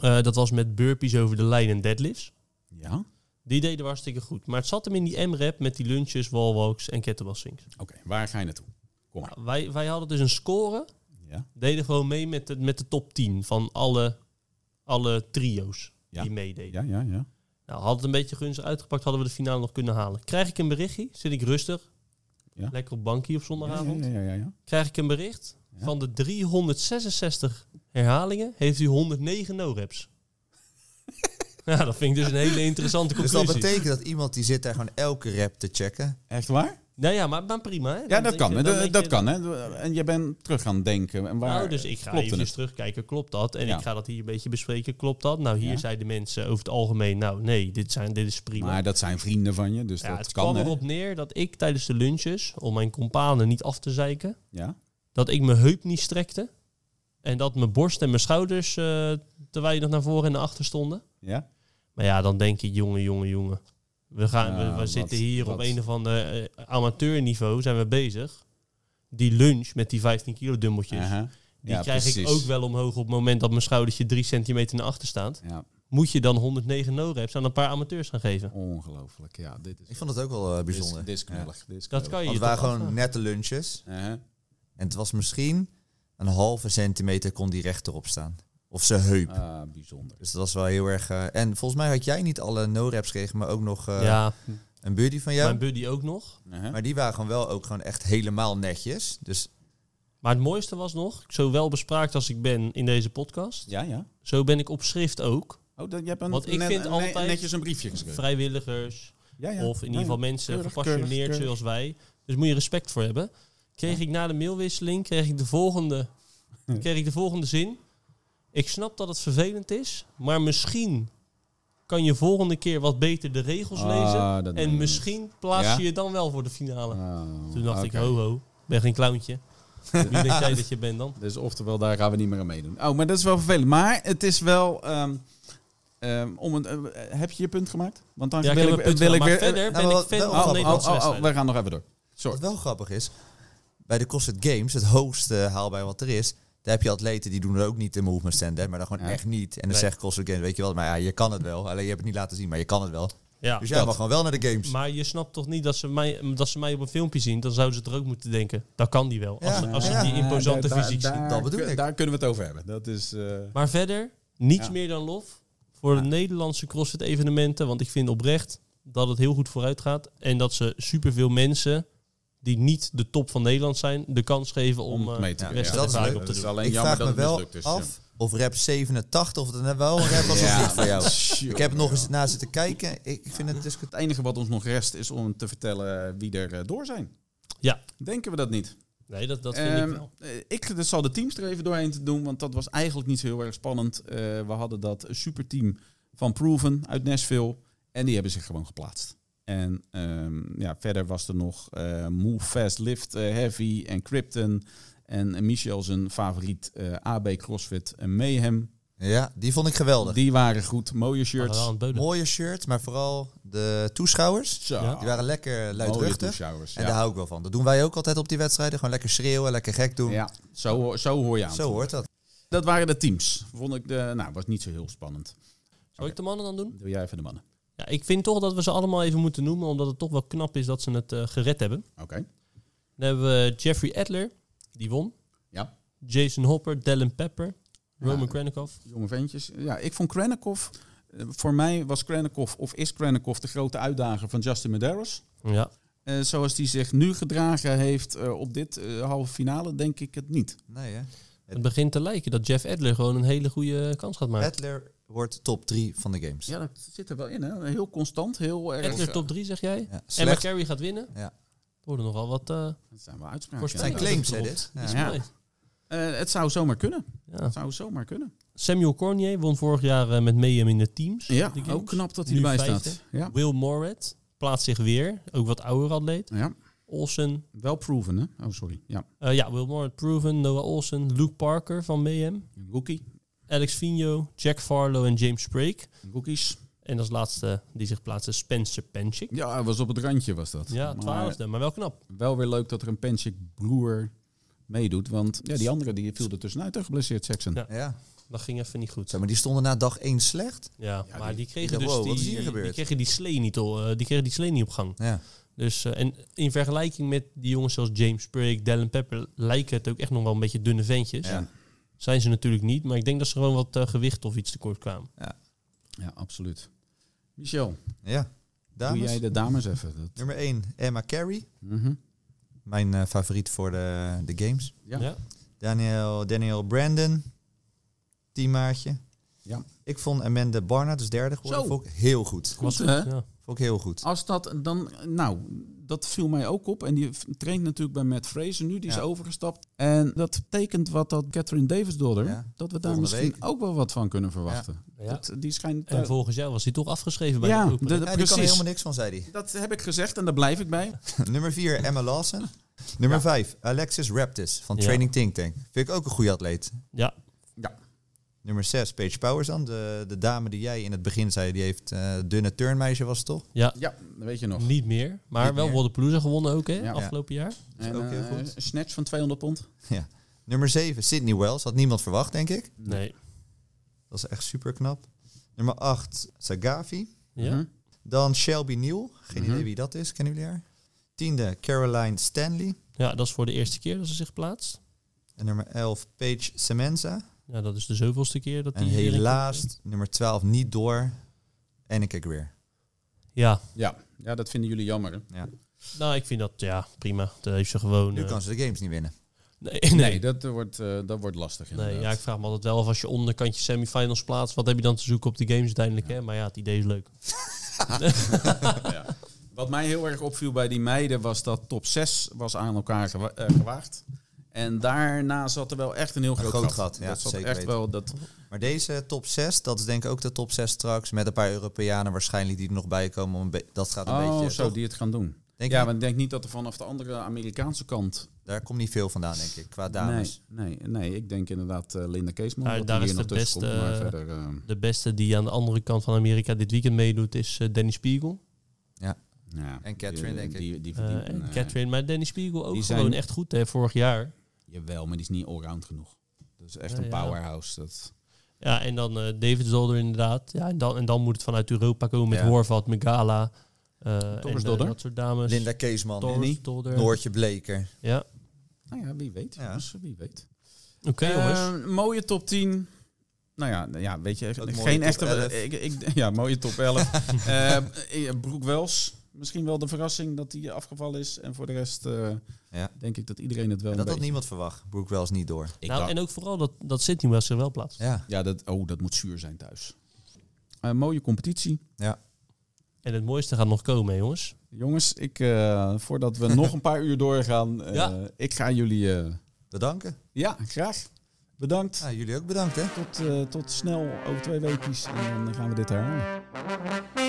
S2: eh, dat was met burpees over de lijn en deadlifts.
S4: Ja. Oké.
S2: Die deden we hartstikke goed. Maar het zat hem in die M-rap met die lunches, wall walks en kettlebell swings.
S4: Waar ga je naartoe? Kom maar.
S2: Nou, wij, wij hadden dus een score.
S4: Ja.
S2: Deden gewoon mee met de, met de top 10 van alle, alle trio's
S4: Ja.
S2: die meededen.
S4: Ja, ja, ja.
S2: Nou, had het een beetje gunstig uitgepakt, hadden we de finale nog kunnen halen. Krijg ik een berichtje, zit ik rustig,
S4: Ja.
S2: lekker op bankie op
S4: Ja,
S2: zondagavond.
S4: ja, ja, ja, ja.
S2: Krijg ik een bericht,
S4: Ja.
S2: van de 366 herhalingen heeft u 109
S4: *laughs*
S2: no-reps. ja, dat vind ik dus een hele interessante
S3: Dus dat
S2: conclusie.
S3: betekent dat iemand die zit daar gewoon elke rap te checken.
S4: Echt waar?
S2: nou ja, maar, maar prima. Hè? Dan
S4: Ja, dat
S2: weet
S4: kan.
S2: je-
S4: hè.
S2: dan
S4: Dat,
S2: weet
S4: dat
S2: je-
S4: kan. Hè. En je bent terug gaan denken. En waar
S2: nou, dus ik ga
S4: klopte
S2: even
S4: het?
S2: terugkijken, klopt dat? En
S4: Ja.
S2: ik ga dat hier een beetje bespreken, klopt dat? Nou, hier
S4: Ja.
S2: zeiden mensen over het algemeen, nou nee, dit, zijn, dit is prima.
S4: Maar dat zijn vrienden van je, dus
S2: ja,
S4: dat
S2: het
S4: kan.
S2: kwam
S4: hè.
S2: erop neer dat ik tijdens de lunches, om mijn companen niet af te zeiken,
S4: Ja.
S2: dat ik mijn heup niet strekte. En dat mijn borst en mijn schouders eh, te weinig naar voren en naar achter stonden.
S4: Ja.
S2: Maar ja, dan denk je, jongen, jongen, jongen. We, gaan,
S4: Ja,
S2: we, we
S4: wat-
S2: zitten hier op
S4: wat-
S2: een of ander eh, amateurniveau, zijn we bezig. Die lunch met die 15 kilo dumbbeltjes,
S4: aha.
S2: Dus die
S4: Ja,
S2: krijg ik
S4: precies.
S2: ook wel omhoog op het moment dat mijn schoudertje 3 centimeter naar achter staat.
S4: Ja,
S2: Moet je dan 109 no-reps aan een paar amateurs gaan geven?
S4: ongelooflijk. Ja, dit is
S3: Ik vond het ook wel eh, bijzonder.
S4: Dit is knullig. Dit is
S2: Dat kan
S3: Want
S2: je je
S3: het waren
S2: toch
S3: gewoon
S2: afvragen.
S3: nette lunches.
S4: knullig. Aha.
S3: En het was misschien een halve centimeter kon die rechterop staan. Of zijn heup.
S4: Ah, bijzonder.
S3: Dus dat was wel heel erg... eh, en volgens mij had jij niet alle no-raps gekregen, maar ook nog eh,
S2: ja,
S3: een buddy van jou.
S2: mijn buddy ook nog.
S4: Aha.
S3: Maar die waren gewoon wel ook gewoon echt helemaal netjes. Dus
S2: Maar het mooiste was nog, zo wel bespraakt als ik ben in deze podcast,
S4: Ja, ja.
S2: zo ben ik op schrift ook.
S4: Oh, dat, je hebt een,
S2: Want ik
S4: net-
S2: vind
S4: ne-
S2: altijd-
S4: netjes een briefje geschreven.
S2: Vrijwilligers
S4: Ja, ja.
S2: of in
S4: Ja,
S2: ieder geval
S4: ja.
S2: mensen
S4: Keurig,
S2: gepassioneerd
S4: keurig, keurig.
S2: zoals wij. Dus moet je respect voor hebben. Kreeg ik na de mailwisseling kreeg ik de, volgende,
S4: Hm.
S2: kreeg ik de volgende zin. Ik snap dat het vervelend is, maar misschien kan je volgende keer wat beter de regels
S4: Ah, dat
S2: lezen.
S4: doen we
S2: En misschien plaats
S4: Ja?
S2: je je dan wel voor de finale.
S4: Ah,
S2: Toen dacht ik,
S4: oké.
S2: ho ho, ben geen clowntje. Wie denk
S4: *laughs*
S2: jij dat je bent dan?
S4: Dus oftewel, daar gaan we niet meer aan meedoen. Oh, maar dat is wel vervelend. Maar het is wel... ehm, ehm, om een, eh, heb je je punt gemaakt? Want dan
S2: Ja, ik
S4: wil
S2: heb
S4: ik,
S2: een punt
S4: wil ik
S2: gemaakt.
S4: weer...
S2: Maar verder
S3: Nou,
S2: ben
S3: wel-
S2: ik fan
S3: wel-
S4: Oh,
S2: van
S4: oh,
S2: de
S4: oh,
S2: Nederlandse
S4: oh,
S2: wedstrijden.
S4: we gaan nog even door.
S3: wat wel grappig is, bij de CrossFit Games, het hoogste haalbaar wat er is... Daar heb je atleten die doen er ook niet de movement stand-up, maar dan gewoon
S4: Ja.
S3: echt niet. En dan
S2: Nee.
S3: zegt CrossFit Games, weet je wel, maar ja, je kan het wel. Alleen je hebt het niet laten zien, maar je kan het wel.
S2: Ja.
S3: Dus jij mag gewoon wel naar de games.
S2: Maar je snapt toch niet dat ze, mij, dat ze mij op een filmpje zien? Dan zouden ze er ook moeten denken. Dat kan die wel. Als,
S3: Ja.
S2: ze- als ze
S3: Ja.
S2: die imposante
S4: daar-
S2: fysiek
S4: daar-
S2: zien.
S3: Dat bedoel
S4: kun-
S3: ik.
S4: Daar kunnen we het over hebben. Dat is... eh,
S2: Maar verder, niets
S4: Ja.
S2: meer dan lof voor
S4: Ja.
S2: de Nederlandse CrossFit evenementen. Want ik vind oprecht dat het heel goed vooruit gaat. En dat ze superveel mensen die niet de top van Nederland zijn, de kans geven
S4: Om
S2: om,
S4: het
S2: eh,
S4: mee te
S2: de
S4: kunnen.
S2: beste
S3: Ja, Dus dat is
S2: ervaring
S3: leuk.
S2: op
S4: Dat
S2: te
S4: is
S2: doen.
S4: alleen
S3: Ik
S4: jammer
S3: vraag
S4: dat
S3: me
S4: het
S3: wel
S4: mislukt is.
S3: af of rap 87 of dat nou wel een rap was
S4: Ja.
S3: of niet voor jou.
S4: Tjonge.
S3: Ik heb nog eens na zitten kijken. Ik ik vind het dus...
S4: Het enige wat ons nog rest is om te vertellen wie er eh, door zijn.
S2: Ja.
S4: Denken we dat niet?
S2: Nee, dat, dat vind
S4: Ehm,
S2: ik wel.
S4: eh, ik dus zal de teams er even doorheen te doen, want dat was eigenlijk niet zo heel erg spannend. Eh, we hadden dat superteam van Proven uit Nashville en die hebben zich gewoon geplaatst. En ehm, ja, verder was er nog eh, Move Fast Lift eh, Heavy en Krypton en Michel zijn favoriet eh, AB CrossFit en Mayhem.
S3: Ja, die vond ik geweldig.
S4: Die waren goed, mooie
S2: Maar wel aan
S4: shirts.
S2: het beulen.
S3: Mooie shirts, maar vooral de toeschouwers.
S4: Zo,
S2: Ja.
S3: Die waren lekker
S4: mooie
S3: luidruchtig.
S4: toeschouwers.
S3: En
S4: ja.
S3: daar hou ik wel van. Dat doen wij ook altijd op die wedstrijden. Gewoon lekker schreeuwen, lekker gek doen.
S4: Ja, zo, hoor- zo hoor je aan.
S3: Zo hoort dat.
S4: Dat waren de teams. Vond ik de, nou, was niet zo heel spannend.
S2: Zal ik de mannen dan doen?
S4: Doe jij even de mannen.
S2: Ja, ik vind toch dat we ze allemaal even moeten noemen, omdat het toch wel knap is dat ze het eh, gered hebben.
S4: Oké.
S2: Dan hebben we Jeffrey Adler, die won.
S4: Ja.
S2: Jason Hopper, Dallin Pepper, Roman
S4: Ja.
S2: Krennikov.
S4: Jonge ventjes. Ja, ik vond Krennikov... eh, Voor mij was Krennikov, of is Krennikov, de grote uitdager van Justin Medeiros.
S2: Ja.
S4: Eh, zoals hij zich nu gedragen heeft eh, op dit eh, halve finale, denk ik het niet.
S3: Nee, hè?
S2: Het begint te lijken dat Jeff Adler gewoon een hele goede kans gaat maken.
S3: Edler wordt top 3 van de games. Ja.
S4: Ja, dat zit er wel in. Hè? Heel constant, heel erg...
S2: Adler top 3, zeg jij? En
S3: slecht.
S2: McCarry gaat winnen.
S3: Ja.
S2: Er worden nogal wat eh
S4: Dat zijn wel uitspraken.
S2: voorspellingen.
S4: ja.
S3: Het zijn claims, hè, dit?
S2: Dat is
S4: Ja.
S2: mooi.
S4: Eh, het zou zomaar kunnen.
S2: Ja.
S4: Het zou zomaar kunnen.
S2: Samuel Cornier won vorig jaar eh, met Mayhem in de teams.
S4: Ja,
S2: De games.
S4: ook knap dat hij
S2: Nu
S4: erbij
S2: vijfde.
S4: staat. Ja.
S2: Will Morat plaatst zich weer. Ook wat ouder atleet.
S4: ja,
S2: Olsen.
S4: wel proven, hè? Oh, sorry. Ja,
S2: eh, ja, Will Morat proven. Noah Olsen. Luke Parker van Mayhem.
S4: rookie.
S2: Alex Vigno. Jack Farlow en James Sprake.
S4: Rookies.
S2: En als laatste die zich plaatsen Spencer Penchik.
S4: Ja, hij was op het randje was dat.
S2: Ja,
S4: maar
S2: twaalfde. Maar wel knap.
S4: wel weer leuk dat er een Pensic broer meedoet. Want ja, die andere die viel er tussenuit hè, geblesseerd Jackson.
S2: Ja.
S3: Ja.
S2: Dat ging even niet goed.
S3: Zo, maar die stonden na dag 1 slecht.
S2: Ja, maar die, kregen
S3: dacht,
S2: dus
S3: wow, wat is
S2: die,
S3: hier gebeurd?
S2: die kregen die slee niet, al, eh, die kregen die slee niet op gang.
S3: Ja.
S2: Dus, eh, en in vergelijking met die jongens zoals James Sprake, Dallin Pepper, lijken het ook echt nog wel een beetje dunne ventjes.
S3: Ja.
S2: Zijn ze natuurlijk niet, maar ik denk dat ze gewoon wat eh, gewicht of iets tekort kwamen.
S4: Ja, absoluut. Michel,
S3: ja.
S4: doe
S3: Dames,
S4: jij de dames even. Dat,
S3: nummer 1, Emma Carey.
S4: Mhm.
S3: Mijn eh, favoriet voor de, de games.
S4: Ja.
S3: Daniel, Daniel Brandon, teammaatje.
S4: Ja.
S3: Ik vond Amanda Barnard, dus derde geworden,
S4: Zo. Ah,
S3: vond ik heel goed.
S4: Goed,
S2: Was goed,
S4: hè?
S2: ja.
S3: Vond ik heel goed.
S4: Als dat dan, nou, dat viel mij ook op. En die f- traint natuurlijk bij Matt Fraser nu, die is
S3: Ja.
S4: overgestapt. En dat betekent wat dat Catherine Davis doorder,
S3: Ja.
S4: dat we daar
S3: Volgende
S4: misschien
S3: week.
S4: ook wel wat van kunnen verwachten.
S2: Ja.
S4: Dat, eh, die schijnt...
S2: En volgens jou was hij toch afgeschreven bij
S4: ja,
S2: de groep.
S4: de-
S3: Ja, die kan er
S4: precies.
S3: helemaal niks van, zei hij.
S4: Dat heb ik gezegd en daar blijf ik bij.
S3: *laughs* nummer 4, Emma Lawson. Nummer 5, Alexis Raptis van
S2: Ja.
S3: Training Think Tank. Vind ik ook een goede atleet.
S2: Ja,
S3: Nummer 6, Paige Powers dan. De, de dame die jij in het begin zei, die heeft eh, dunne turnmeisje was het toch? *laughs*
S2: ja,
S4: Ja, dat weet je nog.
S2: niet meer. Maar
S3: Niet
S2: wel
S3: meer.
S2: Wodepalooza gewonnen ook, hè,
S4: Ja.
S2: afgelopen jaar.
S4: En,
S3: ook heel
S4: eh,
S3: goed.
S4: een snatch van 200 pond.
S3: Ja. Nummer 7, Sydney Wells. Had niemand verwacht, denk ik.
S2: Nee.
S3: Dat is echt super knap. Nummer 8, Sagavi.
S2: Ja.
S4: Mhm.
S3: Dan Shelby Neal. Geen
S4: Mhm.
S3: idee wie dat is, kennen jullie haar? Tiende, Caroline Stanley.
S2: ja, dat is voor de eerste keer dat ze zich plaatst.
S3: En nummer 11, Paige Semenza.
S2: Ja, dat is de zoveelste keer dat
S3: En
S2: die hierin
S3: helaas
S2: komt.
S3: nummer 12 niet door, Anneke Greer.
S2: Ja,
S4: Ja, ja, dat vinden jullie jammer. hè?
S2: nou, ik vind dat, ja, prima. Dat heeft ze gewoon...
S3: Nu
S2: eh,
S3: kan ze de games niet winnen.
S2: *laughs* nee,
S4: Nee,
S2: nee,
S4: dat, eh, wordt, eh, dat wordt lastig.
S2: Nee,
S4: Inderdaad.
S2: ja, ik vraag me altijd wel af als je onderkantje semifinals plaatst, wat heb je dan te zoeken op die games uiteindelijk, hè? Maar ja, het idee is leuk.
S4: Ja. Wat mij heel erg opviel bij die meiden was dat top 6 was aan elkaar gewa- eh, gewaagd. En daarna zat er wel echt een heel
S3: Een
S4: groot,
S3: groot gat, ja,
S4: dat zat
S3: zeker
S4: echt
S3: weten.
S4: wel dat.
S3: Maar deze top 6, dat is denk ik ook de top 6 straks. Met een paar Europeanen waarschijnlijk die er nog bij komen. om een be- dat gaat een
S4: oh,
S3: beetje...
S4: zo
S3: toch?
S4: die het gaan doen.
S3: Denk
S4: ja,
S3: je?
S4: want ik denk niet dat er vanaf de andere Amerikaanse kant.
S3: Daar komt niet veel vandaan, denk ik, qua dames.
S4: Nee, nee, nee, ik denk inderdaad eh, Linda Keesman.
S2: Ja,
S4: dat
S2: daar
S4: die
S2: is
S4: hier nog
S2: de
S4: tussen
S2: beste,
S4: komt, maar
S2: eh,
S4: verder. eh,
S2: De beste die aan de andere kant van Amerika dit weekend meedoet is eh, Danny Spiegel.
S4: ja,
S3: en Catherine,
S4: die,
S3: denk ik.
S4: Die, die
S2: Eh,
S4: verdient
S2: en
S4: een, eh,
S2: Catherine, maar Danny Spiegel ook
S4: die
S2: gewoon
S4: zijn-
S2: echt goed, hè? Vorig jaar.
S4: Jawel, maar die is niet allround genoeg. Dat is echt
S2: Ja,
S4: een
S2: ja.
S4: powerhouse. Dat,
S2: Ja, en dan eh, David Zolder inderdaad. Ja, en dan, en dan moet het vanuit Europa komen met
S3: Ja.
S2: Horvat, Megala. eh, en eh,
S4: Dodder.
S2: dat soort
S4: Dus
S2: dames.
S3: Linda Keesman,
S2: Torres,
S4: eh,
S2: Dodder.
S3: Noortje Bleker.
S2: Ja,
S4: nou ja, wie weet.
S3: Ja.
S4: jongens, wie weet.
S2: oké jongens.
S4: Eh, mooie top 10. Nou ja, nou ja weet je,
S3: Ook mooie
S4: geen
S3: top
S4: *laughs* echte.
S3: 11. *laughs*
S4: Ik, ik, ja, mooie top 11. Eh, eh, Broek Wels, misschien wel de verrassing dat hij afgevallen is. En voor de rest eh,
S3: Ja.
S4: denk ik dat iedereen het wel
S3: En
S4: een
S3: dat had
S4: beetje-
S3: niemand verwacht. Broek wel eens niet door.
S4: Ik
S2: nou,
S4: dacht-
S2: en ook vooral dat, dat Sydney was er wel plaats.
S3: Ja.
S4: Ja, dat, oh, dat moet zuur zijn thuis. Eh, mooie competitie.
S2: En het mooiste gaat nog komen, hè, jongens.
S4: Jongens, ik, eh, voordat
S3: *laughs*
S4: we nog een paar uur doorgaan, eh,
S2: Ja.
S4: ik ga jullie eh,
S3: Bedanken.
S4: ja, graag bedankt.
S3: Ja, jullie ook bedankt, hè?
S4: Tot, eh, tot snel over twee weken en dan gaan we dit herhalen.